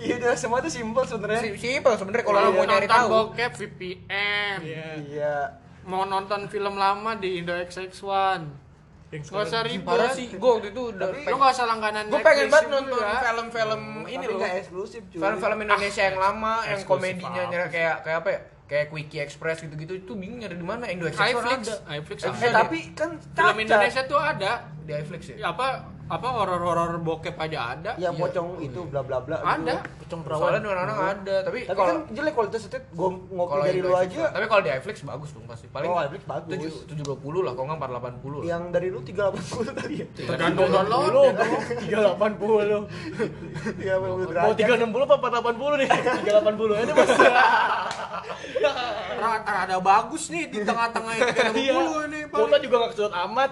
S4: iya udah semua itu simple sebenarnya
S1: si- simple sebenarnya kalau
S2: Kalau
S1: lu
S2: mau
S1: mau nyari
S2: Iya, nonton
S1: tahu.
S2: bokep VPN.
S3: iya
S4: iya
S2: Mau nonton film lama di Indo XX1. Gak usah ribut.
S1: Parah sih, gue waktu itu udah
S4: Tapi-
S2: Lu
S1: pengen,
S2: gak usah langganan
S1: gue pengen
S2: Netflix
S1: banget
S2: juga.
S1: nonton film-film Hmm, ini
S4: Tapi
S1: loh.
S4: nggak eksklusif cuy. Eh,
S1: Film-film Indonesia yang lama, yang
S2: eksklusif
S1: komedinya
S2: apa
S1: nyari kayak kayak apa ya? Kayak Quickie Express gitu-gitu itu bingung nyari di mana Indo Express
S2: iFlix.
S1: ada.
S2: iFlix
S1: Eh,
S2: ada.
S4: Eh tapi kan
S2: film
S4: cacat.
S2: Indonesia tuh ada.
S1: Di iFlix ya.
S2: Ya, apa apa horor-horor bokep aja ada.
S1: Iya.
S4: Ya pocong itu bla bla bla.
S2: Ada.
S4: Aduh.
S1: Pocong perawan. Soalnya orang-orang ada, tapi
S4: Tapi
S1: kalau
S4: kan jelek kualitas itu gua ngopi
S1: kalau
S4: dari
S1: Indo
S4: lu
S1: Express
S4: aja.
S1: lah. Tapi kalau di iFlix bagus dong pasti. Paling
S4: Oh, iFlix bagus. Iya.
S1: 720 lah, kalau enggak 480 lah. Iya.
S4: Yang dari lu 380 tadi ya.
S2: Tergantung download.
S3: Lu tiga delapan puluh.
S4: 380
S3: Mau
S4: derajat.
S3: tiga enam puluh apa empat delapan puluh nih? Tiga delapan puluh ya, aja mas.
S2: Rada bagus nih di tengah-tengah itu
S3: Iya.
S2: 60 nih, Pak.
S3: Kuota juga nggak kesulit amat.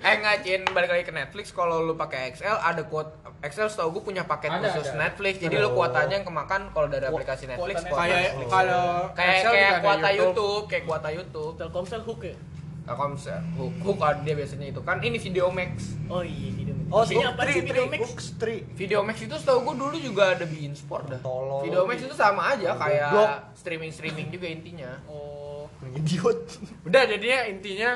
S1: Eh ngajin balik lagi ke Netflix kalau lu pakai XL ada kuat XL setahu gue punya paket
S2: Ada,
S1: khusus
S2: ada.
S1: Netflix. Jadi lu kuotanya yang kemakan kalau dari aplikasi Netflix
S3: kuota
S1: kuota.
S2: Kayak kalau
S1: Kayak
S2: Excel
S1: kayak
S2: juga ada
S1: kuota YouTube, kayak kuota YouTube.
S3: Telkomsel hook ya.
S1: Telkomsel, hook, hook ada dia biasanya itu kan ini Video Max.
S3: Oh iya video.
S4: Oh,
S3: Isinya
S4: Book
S3: apa sih
S4: Tri,
S3: video
S4: Tri,
S3: mix?
S4: Book Tri.
S1: Video Max itu setahu gue dulu juga ada di InSport dah.
S4: Tolol.
S1: Video Max itu sama aja
S4: Goblok.
S1: kayak streaming streaming juga intinya.
S3: Oh.
S4: Idiot.
S2: Udah jadinya intinya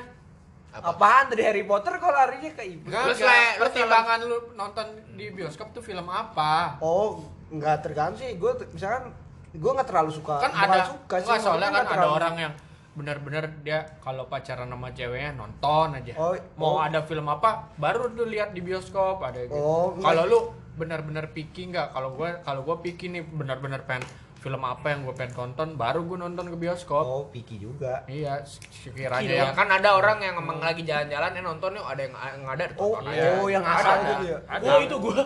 S4: Apaan dari Harry Potter kalau larinya ke ibu?
S2: Enggak,
S1: Terus
S2: Terus
S1: lah, lu
S2: pertimbangan lu nonton di bioskop tuh film apa?
S4: Oh, nggak tergantung sih. Gue misalkan gue nggak terlalu suka.
S2: Kan
S4: bukan
S2: ada,
S4: suka sih,
S2: enggak, soalnya kan
S4: maksudnya nggak
S2: ada
S4: terlalu-
S2: orang yang benar-benar dia kalau pacaran sama ceweknya nonton aja.
S4: Oh,
S2: Mau
S4: oh.
S2: ada film apa baru tuh lihat di bioskop ada gitu.
S4: Oh, enggak.
S2: kalau lu benar-benar picky nggak? Kalau gua kalau gua picky nih benar-benar pengen film apa yang gua pengen tonton baru gua nonton ke bioskop.
S4: Oh, Piki juga.
S2: Iya, sekiranya
S1: Gitu
S2: yang
S1: ya. Kan ada orang yang emang lagi jalan-jalan eh nonton yuk ada yang yang ada
S4: Oh,
S1: ditonton aja.
S4: oh yang asal
S1: iya. Ada.
S4: gitu ya.
S3: Gua Oh, itu gua.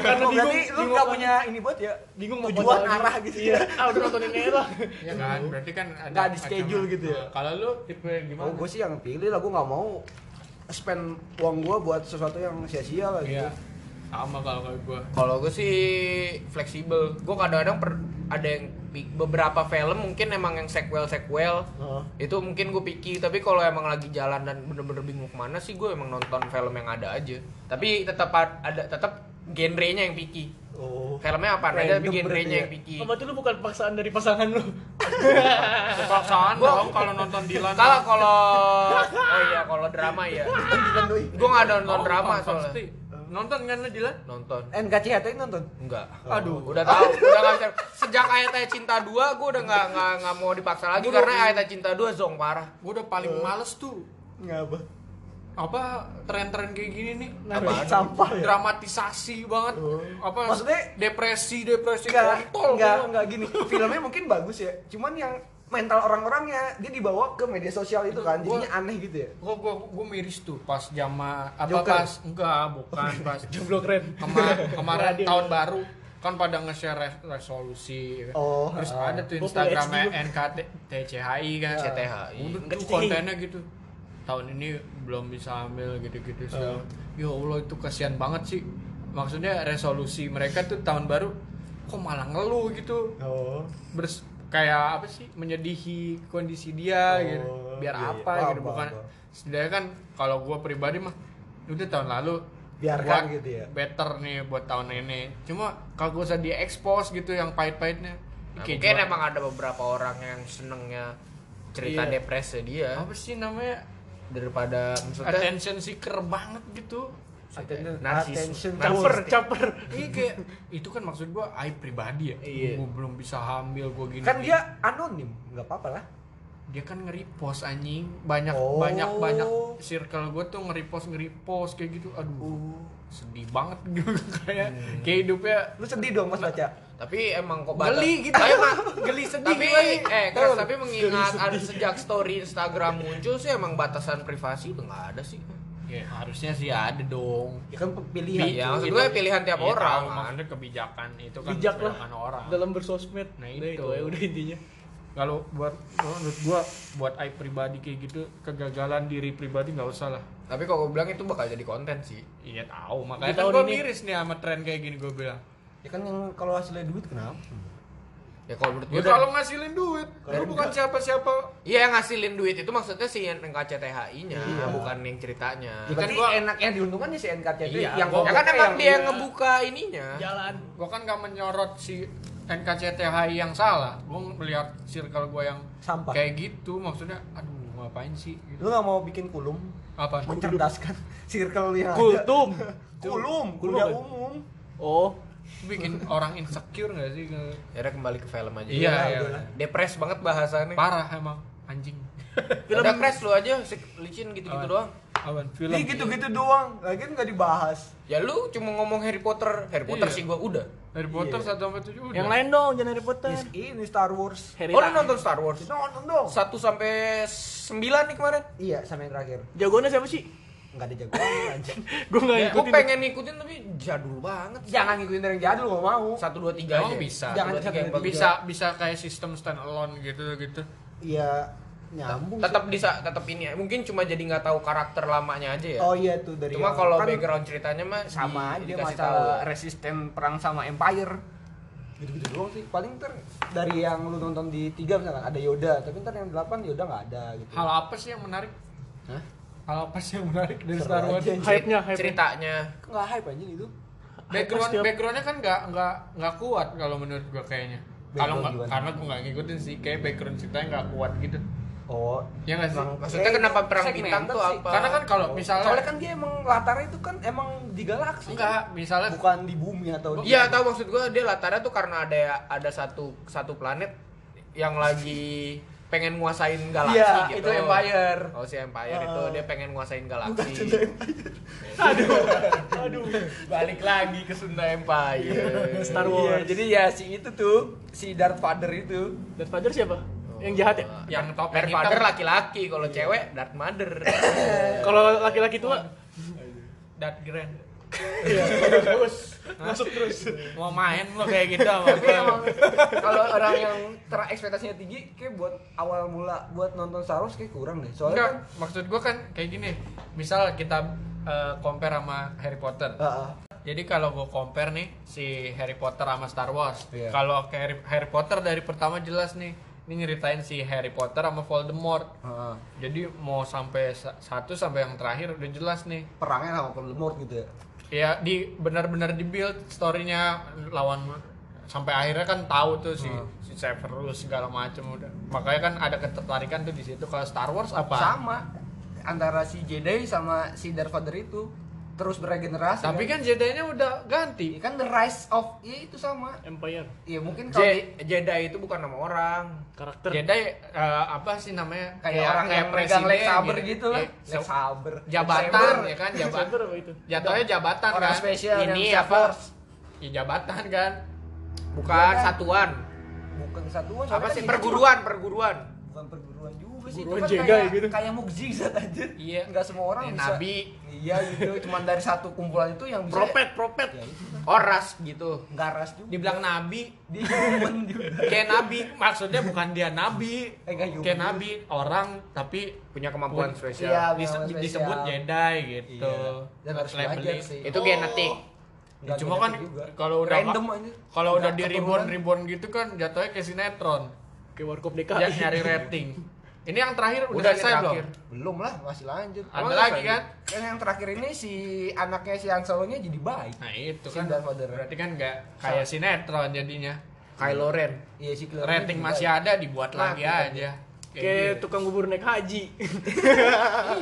S3: Karena
S4: Oh,
S3: bingung.
S4: berarti lu
S3: bingung
S4: nggak
S3: apa-
S4: punya ini buat ya?
S3: bingung mau
S4: tujuan
S3: foto-
S4: arah gitu
S3: Iya.
S4: ya.
S3: Ah udah nontonin ini lah.
S2: Iya kan, berarti kan ada
S4: Nggak di
S2: macam-
S4: schedule gitu ya?
S2: Nah, Kalau lu tipe gimana?
S4: Oh, gue sih yang pilih lah. Gue nggak mau spend uang gue buat sesuatu yang sia-sia lah gitu.
S2: Iya. Sama kalau kayak gua.
S1: Kalau gue sih fleksibel. Gue kadang-kadang per- ada yang pi- beberapa film mungkin emang yang sequel sequel
S4: Heeh.
S1: itu mungkin gue pikir tapi kalau emang lagi jalan dan bener-bener bingung kemana sih gue emang nonton film yang ada aja tapi tetap ad- ada tetap genrenya yang picky
S4: Oh.
S1: filmnya apa aja tapi
S4: Random berarti ya.
S1: genrenya yang picky
S3: Oh, berarti lu bukan paksaan dari pasangan lu.
S2: Paksaan dong kalau nonton Dilan.
S1: Salah kalau oh iya kalau drama ya
S4: Kan
S1: gue nggak ada nonton drama soalnya
S2: Oh, pasti. Nonton kan lu Dilan?
S1: nonton
S4: Eh, NKCHT nonton.
S1: enggak
S2: Aduh,
S1: udah tahu udah nggak bisa sejak ayat ayat cinta 2 gue udah nggak nggak nggak mau dipaksa lagi karena ayat ayat cinta 2 zong parah
S2: gua udah paling males tuh.
S4: Ngapa?
S2: Apa tren-tren kayak gini nih?
S4: Apaan? Sampah ya?
S2: Dramatisasi banget. Apa
S4: Maksudnya,
S2: depresi, depresi
S4: Enggak,
S2: kontol.
S4: enggak,
S2: gua.
S4: enggak gini. Filmnya mungkin bagus ya, cuman yang mental orang-orangnya dia dibawa ke media sosial itu kan, jadinya aneh gitu ya.
S2: Gua gua gua miris tuh pas jama apa
S4: Joker.
S2: pas enggak bukan pas
S3: Jomblo keren.
S2: kema- kemarin
S3: Radio.
S2: tahun baru kan pada nge-share res- resolusi
S4: Oh,
S2: terus
S4: ah. Iya.
S2: ada tuh
S3: Gua
S2: Instagramnya
S3: punya
S2: NKT TCHI kan
S1: CTHI.
S2: Udah tuh
S3: NKTCHI.
S2: kontennya gitu tahun ini belum bisa ambil gitu-gitu sih
S4: Ah.
S2: ya Allah itu kasihan banget sih maksudnya resolusi mereka tuh tahun baru kok malah ngeluh gitu
S4: Oh.
S2: Bers- kayak apa sih menyedihi kondisi dia
S4: Oh,
S2: gitu biar
S4: iya, iya.
S2: apa
S4: Paham,
S2: gitu
S4: paham,
S2: bukan
S4: paham.
S2: setidaknya kan kalau gua pribadi mah udah tahun lalu
S4: Biarkan
S2: buat
S4: gitu ya.
S2: better nih buat tahun ini cuma kalau gua usah di expose gitu yang pahit-pahitnya
S1: Nah,
S2: Kayak
S1: mungkin
S2: jual-
S1: emang ada beberapa orang yang senengnya cerita
S3: Iya.
S1: depresi dia
S2: apa sih namanya
S1: daripada maksudnya
S2: attention seeker banget gitu
S1: narsis
S4: Attention
S3: Caper,
S1: narsis
S3: caper.
S2: iya kayak itu kan maksud gua aib pribadi ya
S3: Iya.
S2: gua belum bisa hamil gua gini
S4: Kan dia anonim, nggak apa-apa lah.
S2: dia kan nge-repost anjing banyak
S4: Oh.
S2: banyak banyak circle gue tuh nge-repost nge-repost kayak gitu aduh sedih banget gitu kayak kayak hidupnya
S4: Lu sedih dong Mas baca.
S1: tapi emang kok batas-
S2: geli gitu
S1: Tapi emang-
S2: geli sedih
S1: tapi
S2: gua nih.
S1: eh Chris, tapi mengingat ada sejak story Instagram muncul sih emang batasan privasi udah nggak ada sih
S2: ya, harusnya sih ada dong
S4: Ya kan pilihan.
S1: Iya, maksud
S2: Itu-
S1: gue
S2: itu-
S1: pilihan tiap
S2: iya,
S1: orang,
S2: tahu,
S1: kan.
S2: maksudnya kebijakan itu kan
S3: Bijak lah
S2: kebijakan orang
S3: dalam bersosmed.
S2: Nah,
S3: Udah,
S2: itu.
S3: aja udah intinya.
S2: kalau buat kalau menurut gua buat aib pribadi kayak gitu kegagalan diri pribadi nggak usah lah
S1: tapi kok gue bilang itu bakal jadi konten sih
S2: iya tahu makanya
S3: Di
S2: kan
S3: tahun
S2: gue
S3: ini-
S2: miris nih sama tren kayak gini gue bilang
S4: Ya kan yang kalau hasilnya duit kenapa?
S1: ya kalau menurut
S2: ya
S1: gue
S2: kalau ngasilin duit lu bukan siapa-siapa
S1: Iya yang ngasilin duit itu maksudnya si yang NKCTHI-nya
S4: Iya.
S1: bukan yang ceritanya.
S4: Ya, berarti
S2: gua-
S4: enaknya diuntungkan si NKCT
S2: Iya,
S4: yang
S2: gua-
S1: Ya
S2: iya.
S1: kan emang dia yang ngebuka ininya.
S3: Jalan.
S2: Gua kan gak menyorot si NKCTHI yang salah. Gua melihat circle gua yang
S4: Sampah.
S2: kayak gitu maksudnya aduh nggak ngapain sih gitu.
S4: Lu nggak mau bikin kulum?
S2: apa
S4: Mencerdaskan circle yang ada.
S3: Kultum.
S4: Kulum,
S3: Kulum
S4: kuliah
S3: apa?
S4: umum.
S3: Oh,
S2: bikin orang insecure nggak sih Ke-
S1: Akhirnya Ya kembali ke film aja.
S2: iya iya
S4: udah.
S1: Depres banget bahasannya.
S2: parah emang anjing
S1: Film Udah crash lu aja, sik- licin
S2: Oh.
S1: gitu-gitu doang.
S2: awan film
S4: Ini Iya, gitu-gitu doang, lagian nggak dibahas.
S1: Ya lu cuma ngomong Harry Potter, Harry Potter
S2: Iya.
S1: sih gua udah.
S2: Harry Potter
S4: Iya.
S2: satu sampai tujuh udah
S3: yang lain dong jangan Harry Potter.
S4: Ini Star Wars.
S3: Harry
S1: Oh lu
S3: Potter.
S1: nonton Star Wars?
S4: Kita nonton dong.
S1: 1 sampai 9 nih kemarin. Ya,
S4: Iya, sama yang terakhir.
S3: Jagoannya siapa sih?
S4: Nggak ada jagoan anjing.
S3: Gue nggak
S1: Ya, gua
S3: ikutin.
S1: pengen ngikutin tapi jadul banget.
S4: Jangan ngikutin dari yang jadul, nggak mau.
S1: 1 2 3 aja.
S2: Emang bisa
S4: Jangan
S1: Dua, tiga,
S4: sampai
S1: yang bagus.
S2: bisa bisa kayak sistem stand alone gitu gitu
S4: Iya, nyambung.
S1: tetap bisa tetap ini ya. mungkin cuma jadi nggak tahu karakter lamanya aja
S4: sih.
S1: ya
S4: Oh iya tuh dari
S1: cuma
S4: yang-
S1: kalau
S4: kan
S1: background ceritanya mah
S4: sama
S1: di-
S4: aja
S1: dikasih
S4: masalah
S1: tahu.
S4: resisten perang sama empire. Gitu-gitu doang sih. Paling ntar dari yang lu nonton di tiga misalkan ada Yoda, tapi ntar yang delapan Yoda nggak ada gitu.
S2: hal apa sih yang menarik
S4: Hah?
S2: hal apa sih yang menarik dari
S4: Seru
S2: Star Wars
S4: aja, anjing.
S3: Hype-nya, hype
S1: ceritanya
S4: Nggak hype anjing itu.
S2: background
S3: Pasti-
S2: backgroundnya kan nggak nggak nggak kuat kalau menurut gua kayaknya kalau nggak
S4: Background gimana?
S2: karena gua nggak ngikutin sih kayak background ceritanya nggak kuat gitu
S4: Oh,
S2: ya nggak sih
S4: Emang-
S1: maksudnya kenapa perang
S4: segmented
S1: bintang tuh
S4: sih.
S1: apa
S2: karena kan kalau misalnya
S4: Soalnya kan dia emang latarnya itu kan emang di galaksi.
S2: enggak misalnya
S4: Bukan di bumi atau di
S1: Iya, tahu maksud gua dia latarnya tuh karena ada ada satu satu planet yang lagi pengen nguasain galaksi
S4: Iya,
S1: gitu.
S4: itu Empire.
S1: Oh,
S4: Uh.
S1: si Empire itu dia pengen nguasain galaksi. Balik lagi ke Sunda Empire.
S3: Star
S4: Iya,
S3: Wars.
S4: jadi ya si itu tuh, si Darth Vader itu.
S3: Darth Vader siapa? Yang jahat ya?
S2: yang top
S1: Darth Vader laki-laki, kalau cewek Darth Mother.
S3: Kalau laki-laki tua,
S2: dat grand
S3: terus Iya, masuk terus.
S2: mau main lo kayak gitu sama
S4: Tapi emang kalau orang yang terekspektasinya tinggi kayak buat awal mula buat nonton Star Wars kayak kurang deh.
S2: Enggak,
S4: Soalnya kan
S2: maksud gua kan kayak gini. Misal kita eh, compare sama Harry Potter.
S4: kan, Heeh.
S2: Jadi kalau gua compare nih si Harry Potter sama Star Wars.
S4: Iya.
S2: Kalau ke Harry, Harry Potter dari pertama jelas nih. Ini nyeritain si Harry Potter sama Voldemort.
S4: Heeh.
S2: Jadi mau sampai sa- satu sampai yang terakhir udah jelas nih.
S4: perangnya sama Voldemort gitu ya.
S2: Ya di benar-benar dibuild storynya lawan sampai akhirnya kan tahu tuh si
S4: Hmm.
S2: si Severus segala macem udah. Makanya kan ada ketertarikan tuh di situ. Kalau Star Wars apa?
S4: Sama antara si Jedi sama si Darth Vader itu terus beregenerasi.
S2: Tapi kan Jedi-nya udah ganti.
S4: kan, kan the rise of ya itu sama.
S3: Empire.
S4: Ya mungkin kalau di-
S1: Je- Jedi itu bukan nama orang.
S3: Karakter.
S2: Jedi eh, apa sih namanya
S4: kayak orang yang megang
S2: presiden
S4: Lex Saber gitu, lah.
S2: Ya,
S4: Lex Saber.
S2: jabatan ya kan jabatan
S3: Saber apa itu?
S2: jatuhnya jabatan
S4: Orang
S2: kan
S4: spesial yang
S2: ini
S4: bisa
S2: apa
S4: force.
S2: ya, jabatan kan
S1: Bukan
S4: Jedi.
S1: satuan.
S4: Bukan kesatuan
S1: Apa
S4: soalnya
S1: sih
S4: kan
S1: perguruan, perguruan.
S4: bukan perguruan juga sih
S3: Perguruan
S4: itu kan
S3: Jedi
S4: kayak
S3: gitu.
S4: kayak mukjizat aja
S2: Iya.
S4: nggak semua orang
S2: Eh,
S4: bisa
S2: nabi.
S4: iya gitu cuman dari satu kumpulan itu yang bisa
S3: Propet, propet.
S1: Oras gitu.
S4: nggak ras juga
S2: dibilang nabi
S4: dia human juga
S2: kayak nabi maksudnya bukan dia nabi
S4: Eh, nggak human.
S2: kayak nabi orang tapi
S1: Punya kemampuan
S2: Pun-
S1: spesial.
S4: Iya.
S2: dis-
S4: spesial.
S2: disebut Jedi gitu
S4: Iya. dan harus
S2: Labeling.
S4: belajar sih
S1: Itu genetik.
S2: Ya,
S4: Nggak
S2: cuma kan
S4: genetik juga.
S2: kalau udah
S4: Random aja.
S2: kalau udah
S4: Nggak
S2: di
S4: keturunan.
S2: reborn reborn gitu kan jatuhnya kayak sinetron
S3: Kayak Warkop DKI.
S2: ya nyari rating ini yang terakhir udah,
S1: Udah, ini
S2: selesai belum
S1: terakhir.
S4: belum lah masih lanjut
S2: Ada
S4: Emang
S2: lagi
S4: nggak
S2: kan?
S4: lanjut? kan yang terakhir ini si anaknya si Han Solo-nya jadi baik
S2: Nah itu
S4: Si
S2: kan
S4: Darth Vader.
S2: berarti kan nggak kayak sinetron jadinya.
S1: Kylo Ren.
S4: iya si Kylo Ren
S2: Rating
S4: jadi
S2: masih
S4: baik.
S2: ada dibuat lagi aja. gitu.
S3: Kayak tukang bubur naik haji.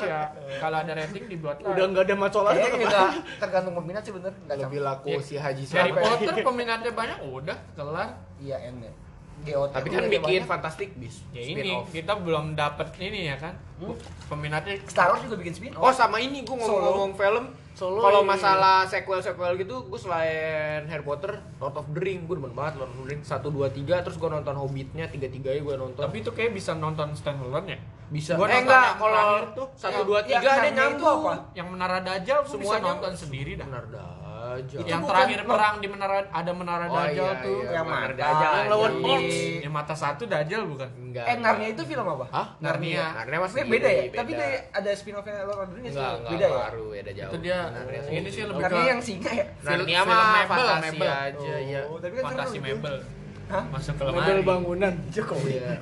S2: iya. Kalau ada rating dibuat lagi.
S3: Udah nggak ada masalah.
S4: kayaknya nggak tergantung peminat sih bener nggak
S1: Lebih
S4: sama.
S1: laku si ya, Haji
S2: Harry
S1: Sulaim.
S2: Potter peminatnya banyak udah kelar.
S4: iya N-nya GOT
S1: Tapi kan bikin Fantastic Beasts
S2: Ya ini kita belum dapat ini ya kan. Peminatnya
S4: Star Wars juga bikin spin off
S1: Oh sama ini gue ngomong-ngomong film
S3: Solo.
S1: Kalau masalah sequel-sequel gitu Gue selain Harry Potter Lord of the Ring Gue demen banget Lord of the Ring 1, 2, 3 Terus gue nonton Hobbitnya Tiga-tiganya gue nonton
S2: tapi itu kayak bisa nonton standalone ya.
S1: Bisa
S2: Gua
S1: Eh
S2: nonton
S1: enggak
S2: yang
S1: Kalau
S2: terakhir tuh,
S1: 1, 2,
S4: yang
S1: 3 ada
S4: enamnya itu
S1: nyambung
S4: apa?
S2: Yang menara Dajjal gua bisa
S1: Semuanya-
S2: nonton sendiri dah.
S1: Benar aja
S2: yang
S4: bukan-
S2: terakhir perang di menara ada menara
S1: Oh
S2: Dajjal
S1: iya,
S2: tuh.
S1: iya,
S4: yang
S1: benar,
S4: mata,
S1: Dajjal
S4: yang lawan
S1: aja.
S4: Orcs.
S2: Yang mata satu Dajjal bukan?
S1: Enggak
S4: Eh Narnia itu film apa?
S1: Hah?
S2: Narnia.
S1: Narnia masih
S4: Sebenarnya beda ya?
S1: beda.
S4: Tapi kayak ada spin off-nya Lord of the Rings
S1: Enggak,
S4: sih?
S1: enggak
S4: beda ya?
S1: baru beda jauh
S2: Itu dia.
S1: Narnia Oh.
S2: Ini sih lebih
S4: Narnia
S2: ke-
S4: yang singa ya?
S1: Narnia
S2: Film- film
S1: mah
S2: Mabel,
S1: fantasi
S2: Mabel.
S1: aja ya
S4: Oh, tapi kan
S2: Fantasi
S4: seru itu.
S2: mebel.
S4: Hah?
S2: Masuk ke
S3: Model
S2: lemari.
S3: bangunan.
S4: Jokowi.
S1: Iya.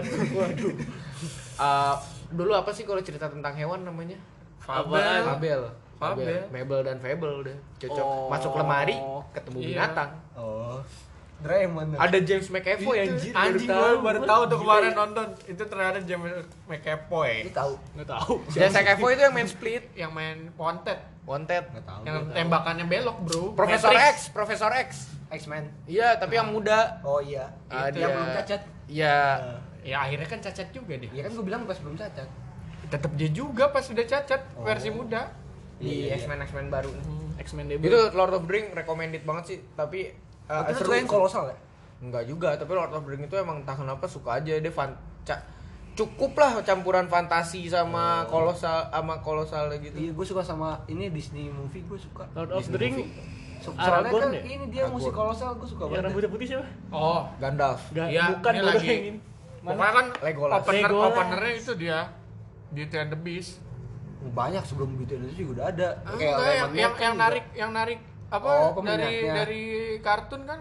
S3: Waduh.
S1: Eh, dulu apa sih kalau cerita tentang hewan namanya?
S2: Fabel.
S1: Fabel.
S2: Fabel.
S1: Mebel dan Fabel udah cocok.
S3: Oh.
S1: Masuk lemari, ketemu
S2: Iya.
S1: binatang.
S4: Oh. Doraemon.
S1: Ada James McAvoy anjir. ya,
S2: Gitu. Ah,
S1: baru
S8: Anjing
S1: tahu.
S8: gue baru tahu tuh kemarin nonton. Itu ternyata James
S4: Lu
S8: McAvoy.
S4: tahu?
S8: Nggak tahu.
S1: James McAvoy itu yang main split,
S2: yang main pontet
S1: Wanted.
S4: Enggak Oh, tahu.
S2: yang tembakannya belok bro
S1: Profesor
S2: Matrix.
S1: X, Profesor X.
S4: X-Men.
S1: Iya, tapi yang muda.
S4: Oh iya.
S1: Ah,
S4: Yang
S1: dia-
S4: belum cacat. Nah.
S1: Iya.
S2: ya akhirnya kan cacat juga dia
S4: Iya kan gue bilang pas belum cacat.
S2: tetap dia juga pas sudah cacat
S4: Oh.
S2: versi muda
S4: Iya,
S1: Di X-Men X-Men baru.
S8: X-Men
S1: Itu Lord of the Ring recommended banget sih, tapi uh, seru
S4: Itu Eh, seru Oh, yang kolosal ya.
S1: Enggak juga, tapi Lord of the Ring itu emang entah kenapa suka aja dia fan ca- cukup lah campuran fantasi sama kolosal sama kolosal gitu.
S4: Oh. Iya, gue suka sama ini Disney movie gue suka.
S3: Lord of the Ring
S4: So- Soalnya
S3: Aragorn
S4: kan
S3: ya? Iya,
S4: ini dia musik kolosal gue suka
S3: yang
S4: banget.
S3: rambutnya putih siapa?
S2: oh
S1: Gandalf.
S3: Enggak,
S2: Iya,
S3: bukan
S2: ini
S3: gue
S2: lagi.
S3: bayangin.
S2: pokoknya kan
S1: Legolas.
S2: opener
S3: Legolas.
S2: openernya itu dia di Ten the Beast
S4: Banyak sebelum gitu Indonesia juga udah ada.
S2: Ah,
S4: Kayak
S2: enggak, yang,
S4: Lemon
S2: yang,
S4: Mati
S2: yang
S4: juga.
S2: narik yang narik apa
S4: Oh,
S2: dari
S4: peminatnya.
S2: dari kartun kan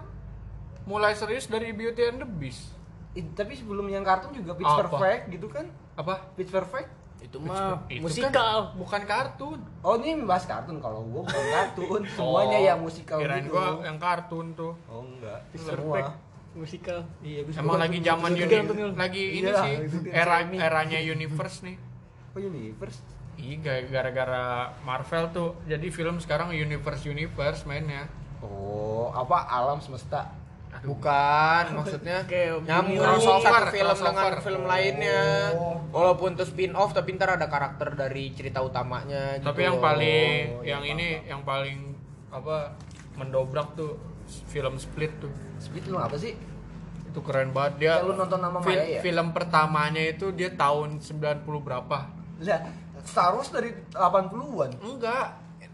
S2: mulai serius dari Beauty and the Beast
S4: Ih, tapi sebelum yang kartun juga Pitch
S2: Apa?
S4: Perfect gitu kan.
S2: apa
S4: Pitch Perfect.
S1: Itu mah
S2: Itu
S3: kan Musikal.
S2: kan bukan kartun
S4: Oh ini membahas kartun kalau gue bukan kartun semuanya
S2: Oh,
S4: yang musikal
S2: kirain
S4: gitu.
S2: gua yang kartun tuh
S4: Oh enggak.
S3: Pitch
S4: Semua.
S3: Perfect. Musikal.
S4: Iya, gua suka
S2: emang
S4: banget
S2: lagi
S4: tuh.
S2: zaman
S4: Terus
S2: uni
S4: juga nonton-
S2: lagi ini
S4: Iya,
S2: sih
S4: itu dia.
S2: era eranya universe nih
S4: Oh universe.
S2: Iya, gara-gara Marvel tuh. Jadi film sekarang universe universe mainnya.
S4: Oh apa alam semesta.
S1: bukan maksudnya
S3: Kayak
S1: nyambung
S3: bunyi
S1: satu
S2: crossover,
S1: film dengan
S2: crossover.
S1: film lainnya.
S4: Oh.
S1: Walaupun itu spin off tapi ntar ada karakter dari cerita utamanya gitu.
S2: Tapi yang
S1: loh.
S2: paling,
S4: Iya,
S2: yang ini, yang paling apa mendobrak tuh s- film Split tuh.
S4: Speed lu apa sih?
S2: Itu keren banget dia.
S4: Ya, lu nonton sama
S2: fil-
S4: Maya ya?
S2: Film pertamanya itu dia tahun 90 berapa?
S4: Lah Star Wars dari 80-an.
S2: Enggak.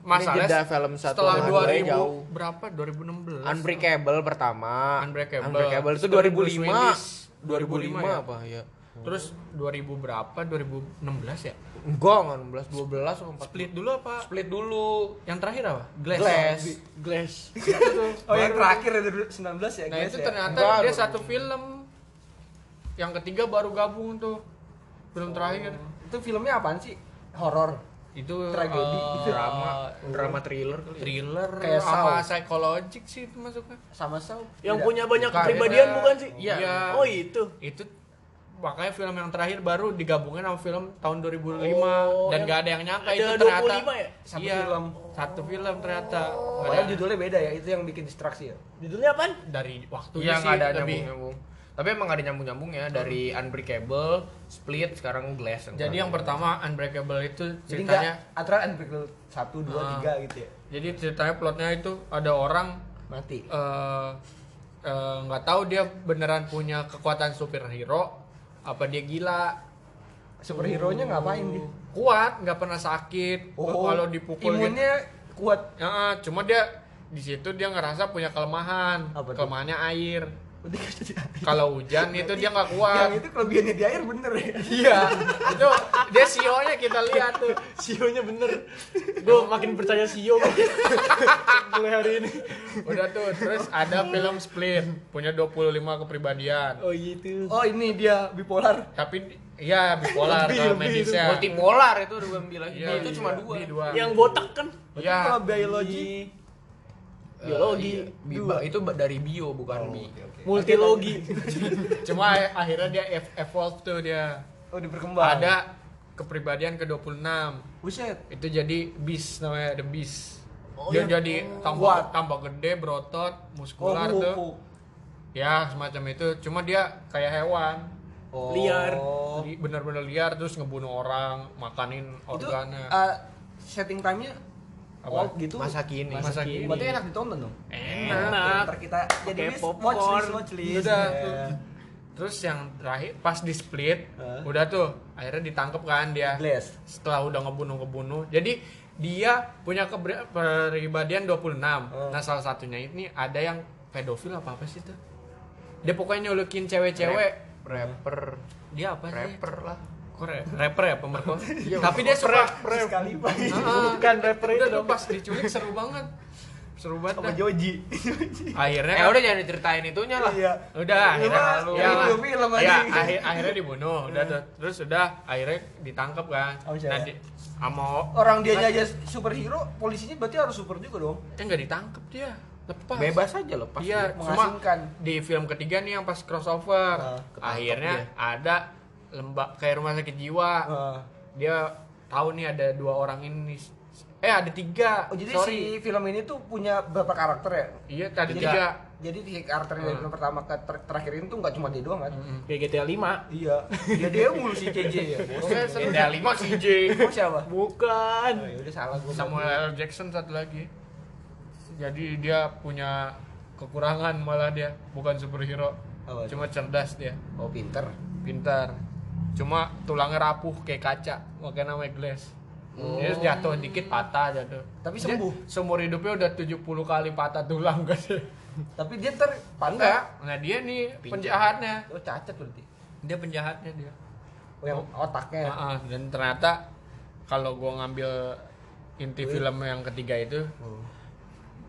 S1: jeda
S2: Masalahnya
S1: film satu
S2: setelah
S1: sama
S2: 2000
S1: dua jauh.
S2: berapa? 2016.
S1: Unbreakable pertama.
S2: Unbreakable.
S1: Unbreakable itu
S2: Terus
S1: 2005. 2005
S2: 2005 ya?
S1: apa ya?
S2: Terus 2000 berapa? 2016 ya?
S1: Enggak, enggak 16, 12 sama 14.
S2: Split dulu apa?
S1: Split dulu.
S2: Yang terakhir apa? Glass.
S1: Glass.
S3: Glass.
S4: Oh yang terakhir ya dari 19 ya
S2: iya. Nah
S4: guys
S2: itu
S4: ya?
S2: ternyata
S1: Baru.
S2: dia satu film. Yang ketiga baru gabung tuh. Film terakhir.
S4: Itu filmnya apaan sih? Horor.
S2: Itu
S4: Tragedi.
S2: eh,
S1: Drama, drama thriller kali. ya.
S2: thriller
S4: Kayak
S2: sama
S4: Saw.
S2: psikologik sih itu masuknya.
S4: Sama Saw.
S3: Yang
S4: Tidak.
S3: punya banyak
S2: Bukan.
S3: kepribadian bukan sih?
S2: Iya.
S3: Oh itu.
S2: Itu makanya film yang terakhir baru digabungin sama film tahun 2005 dan
S3: yang-
S2: gak ada yang nyangka
S3: ada
S2: itu ternyata
S3: 25 ya?
S2: satu
S4: Satu
S2: film
S4: film.
S2: satu film ternyata Nggak
S4: Padahal
S2: ada-
S4: judulnya beda ya, itu yang bikin distraksi ya.
S3: Judulnya apaan?
S2: dari
S1: Iya,
S2: waktunya sih
S1: enggak ada
S2: lebih
S1: nyambung-nyambung. Tapi emang nggak ada nyambung-nyambung ya dari Unbreakable, Split, sekarang Glass.
S2: jadi yang pertama Unbreakable itu
S4: Jadi
S2: ceritanya
S4: enggak antara Unbreakable 1 2
S2: Ah.
S4: 3 gitu ya.
S2: Jadi ceritanya plotnya itu ada orang
S4: Mati.
S2: eh, eh, nggak tahu dia beneran punya kekuatan superhero apa dia gila
S4: Superhero-nya ngapain dia? Oh,
S2: kuat nggak pernah sakit Oh. kalau dipukul gitu.
S4: imunnya kuat.
S2: Ya, cuma dia di situ dia ngerasa punya kelemahan
S4: Apa tuh?
S2: kelemahannya air
S4: Berarti kan jadi api.
S2: kalau hujan itu dia nggak
S4: Yang
S2: kuat
S4: itu kelebihannya di air bener ya.
S2: iya itu dia sionya kita lihat tuh
S4: E
S3: Sionya bener. Gue makin percaya Sio. gua. Mulai hari ini.
S2: udah tuh terus ada film split punya 25 kepribadian
S3: Oh gitu.
S4: Oh ini dia bipolar.
S2: tapi iya bipolar
S3: Lebih,
S2: kalau
S3: lebih
S2: medisnya
S1: Iya. multipolar itu udah gue bilang.
S2: Iya,
S1: itu
S2: iya.
S1: cuma dua.
S2: Di dua.
S3: Yang botak kan?
S4: Berarti
S2: Iya.
S4: kalau biologi
S1: Eh,
S3: Biologi.
S1: iya. Biba- itu ba- dari bio bukan bi.
S4: Oh,
S3: Multilogi.
S2: Cuma akhirnya dia ev- evolve tuh dia.
S4: oh diperkembang.
S2: Ada kepribadian ke-26.
S4: Buset.
S2: Itu jadi beast namanya, the beast.
S3: Oh,
S2: dia
S3: yang-
S2: jadi tambah
S4: Kuat.
S2: tambah gede, berotot,
S4: Oh,
S2: muskular
S4: kuku,
S2: tuh.
S4: kuku.
S2: Ya, semacam itu. Cuma dia kayak hewan.
S4: Oh.
S3: Liar.
S2: Li- Bener-bener liar terus ngebunuh orang, makanin
S4: Itu
S2: organnya.
S4: eh, setting time-nya
S2: Apa?
S4: Oh gitu.
S1: Masa kini.
S2: Masa kini.
S4: Berarti enak ditonton dong.
S3: Enak.
S4: Ntar kita
S3: Pakai
S4: jadi list,
S3: popcorn.
S4: watch list, watch list. Iya.
S2: Udah tuh.
S4: Yeah.
S2: Terus yang terakhir pas di split,
S4: Hah?
S2: udah tuh akhirnya ditangkap kan dia.
S4: Blast.
S2: setelah udah ngebunuh-ngebunuh. Jadi dia punya keber- kepribadian 26.
S4: Oh.
S2: Nah, salah satunya ini ada yang pedofil apa apa sih tuh? Dia pokoknya nyulukin cewek-cewek.
S1: Rapper,
S2: Dia apa sih?
S1: rapper lah.
S2: Kok ra- rapper ya pemerkosa? Tapi dia suka
S4: Sekali banget.
S2: bukan rapper itu dong pas diculik seru banget. Seru banget.
S4: Sama
S2: dah.
S4: Joji.
S2: Akhirnya
S1: Eh
S2: kan-
S1: udah jangan diceritain itunya lah.
S4: Iya.
S2: udah akhirnya
S4: mah
S2: ya, lah.
S4: film-film
S2: Ya,
S4: aja.
S2: akhir- akhirnya dibunuh udah
S4: Iya.
S2: tuh. terus udah akhirnya ditangkap kan
S4: Sama siapa?
S2: nah, di- sama
S4: Orang dia aja superhero, polisinya berarti harus super juga dong.
S2: kan nggak ditangkap Eh, dia lepas
S4: bebas aja loh pas
S2: iya cuma
S4: mengasingkan
S2: di film ketiga nih yang pas crossover
S4: Ah, ketangkep
S2: akhirnya ada lembak kayak rumah sakit jiwa
S4: Ah.
S2: dia tahu nih ada dua orang ini eh ada tiga
S4: oh jadi
S2: sorry
S4: si film ini tuh punya berapa karakter ya
S2: iya ada
S4: Jadi-
S2: tiga
S4: jadi si karakter dari film pertama ke ter- terakhir ini tuh nggak cuma dia doang kan
S1: Kayak GTA 5
S4: iya dia dia mulu si CJ ya
S2: Oke, seru. ada lima sih J
S4: Emang siapa
S1: Bukan
S4: oh, ya udah salah gue
S2: Samuel L. Jackson satu lagi jadi dia punya kekurangan malah dia bukan superhero
S4: Apa itu?
S2: cuma cerdas dia
S4: oh pinter
S2: pintar cuma tulangnya rapuh kayak kaca makanya namanya glass Dia jatuh dikit patah jatuh
S4: Tapi
S2: Dia
S4: sembuh.
S2: seumur hidupnya udah 70 kali patah tulang kan dia
S4: tapi dia ter
S2: enggak
S4: panda
S2: nah dia nih penjahatnya
S4: oh cacat berarti
S2: dia penjahatnya dia
S4: oh, yang otaknya
S2: Ah, ah. dan ternyata kalau gua ngambil inti film yang ketiga itu
S4: Oh.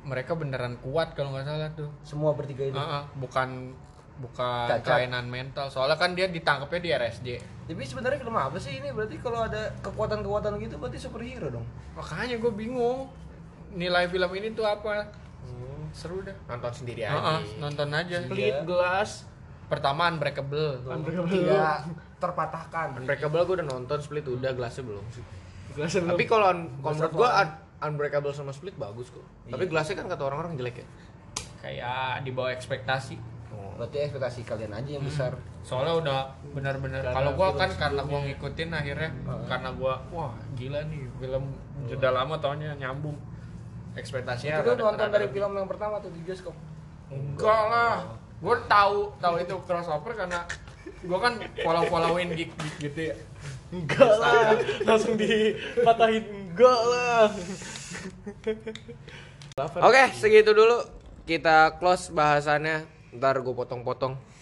S2: mereka beneran kuat kalau nggak salah tuh
S4: semua bertiga ini
S2: Ah, ah. bukan bukan
S4: Gitu. Cacat.
S2: kelainan mental soalnya kan dia ditangkapnya di RSJ
S4: tapi sebenarnya film apa sih ini berarti kalau ada kekuatan-kekuatan gitu berarti superhero dong
S2: makanya gue bingung nilai film ini tuh apa seru dah
S1: Nonton sendiri
S2: Ah, ah,
S1: aja
S2: nonton aja
S1: Pelit gelas
S2: pertama unbreakable
S4: tidak Iya, terpatahkan
S1: Unbreakable gue udah nonton Split udah gelasnya belum sih
S9: Jelasin lu.
S1: Tapi kalau un- kalau menurut gue un- Unbreakable sama Split bagus kok Tapi
S2: Iya.
S1: gelasnya kan kata orang-orang jelek ya
S2: kayak di bawah ekspektasi
S4: berarti ekspektasi kalian aja yang besar
S2: soalnya udah benar-benar kalau gua kan karena gua ngikutin akhirnya karena gua wah gila nih film sudah lama tahunnya nyambung ekspektasinya
S4: itu lu
S2: rada-
S4: nonton
S2: rada
S4: dari
S2: Ya, lebih.
S4: film yang pertama tuh di bioskop
S2: enggak lah gua tahu tahu itu crossover karena gua kan follow followin geek geek gitu ya
S3: Enggak lah, langsung dipatahin enggak lah.
S1: Oke segitu dulu Kita close bahasannya Ntar gue potong-potong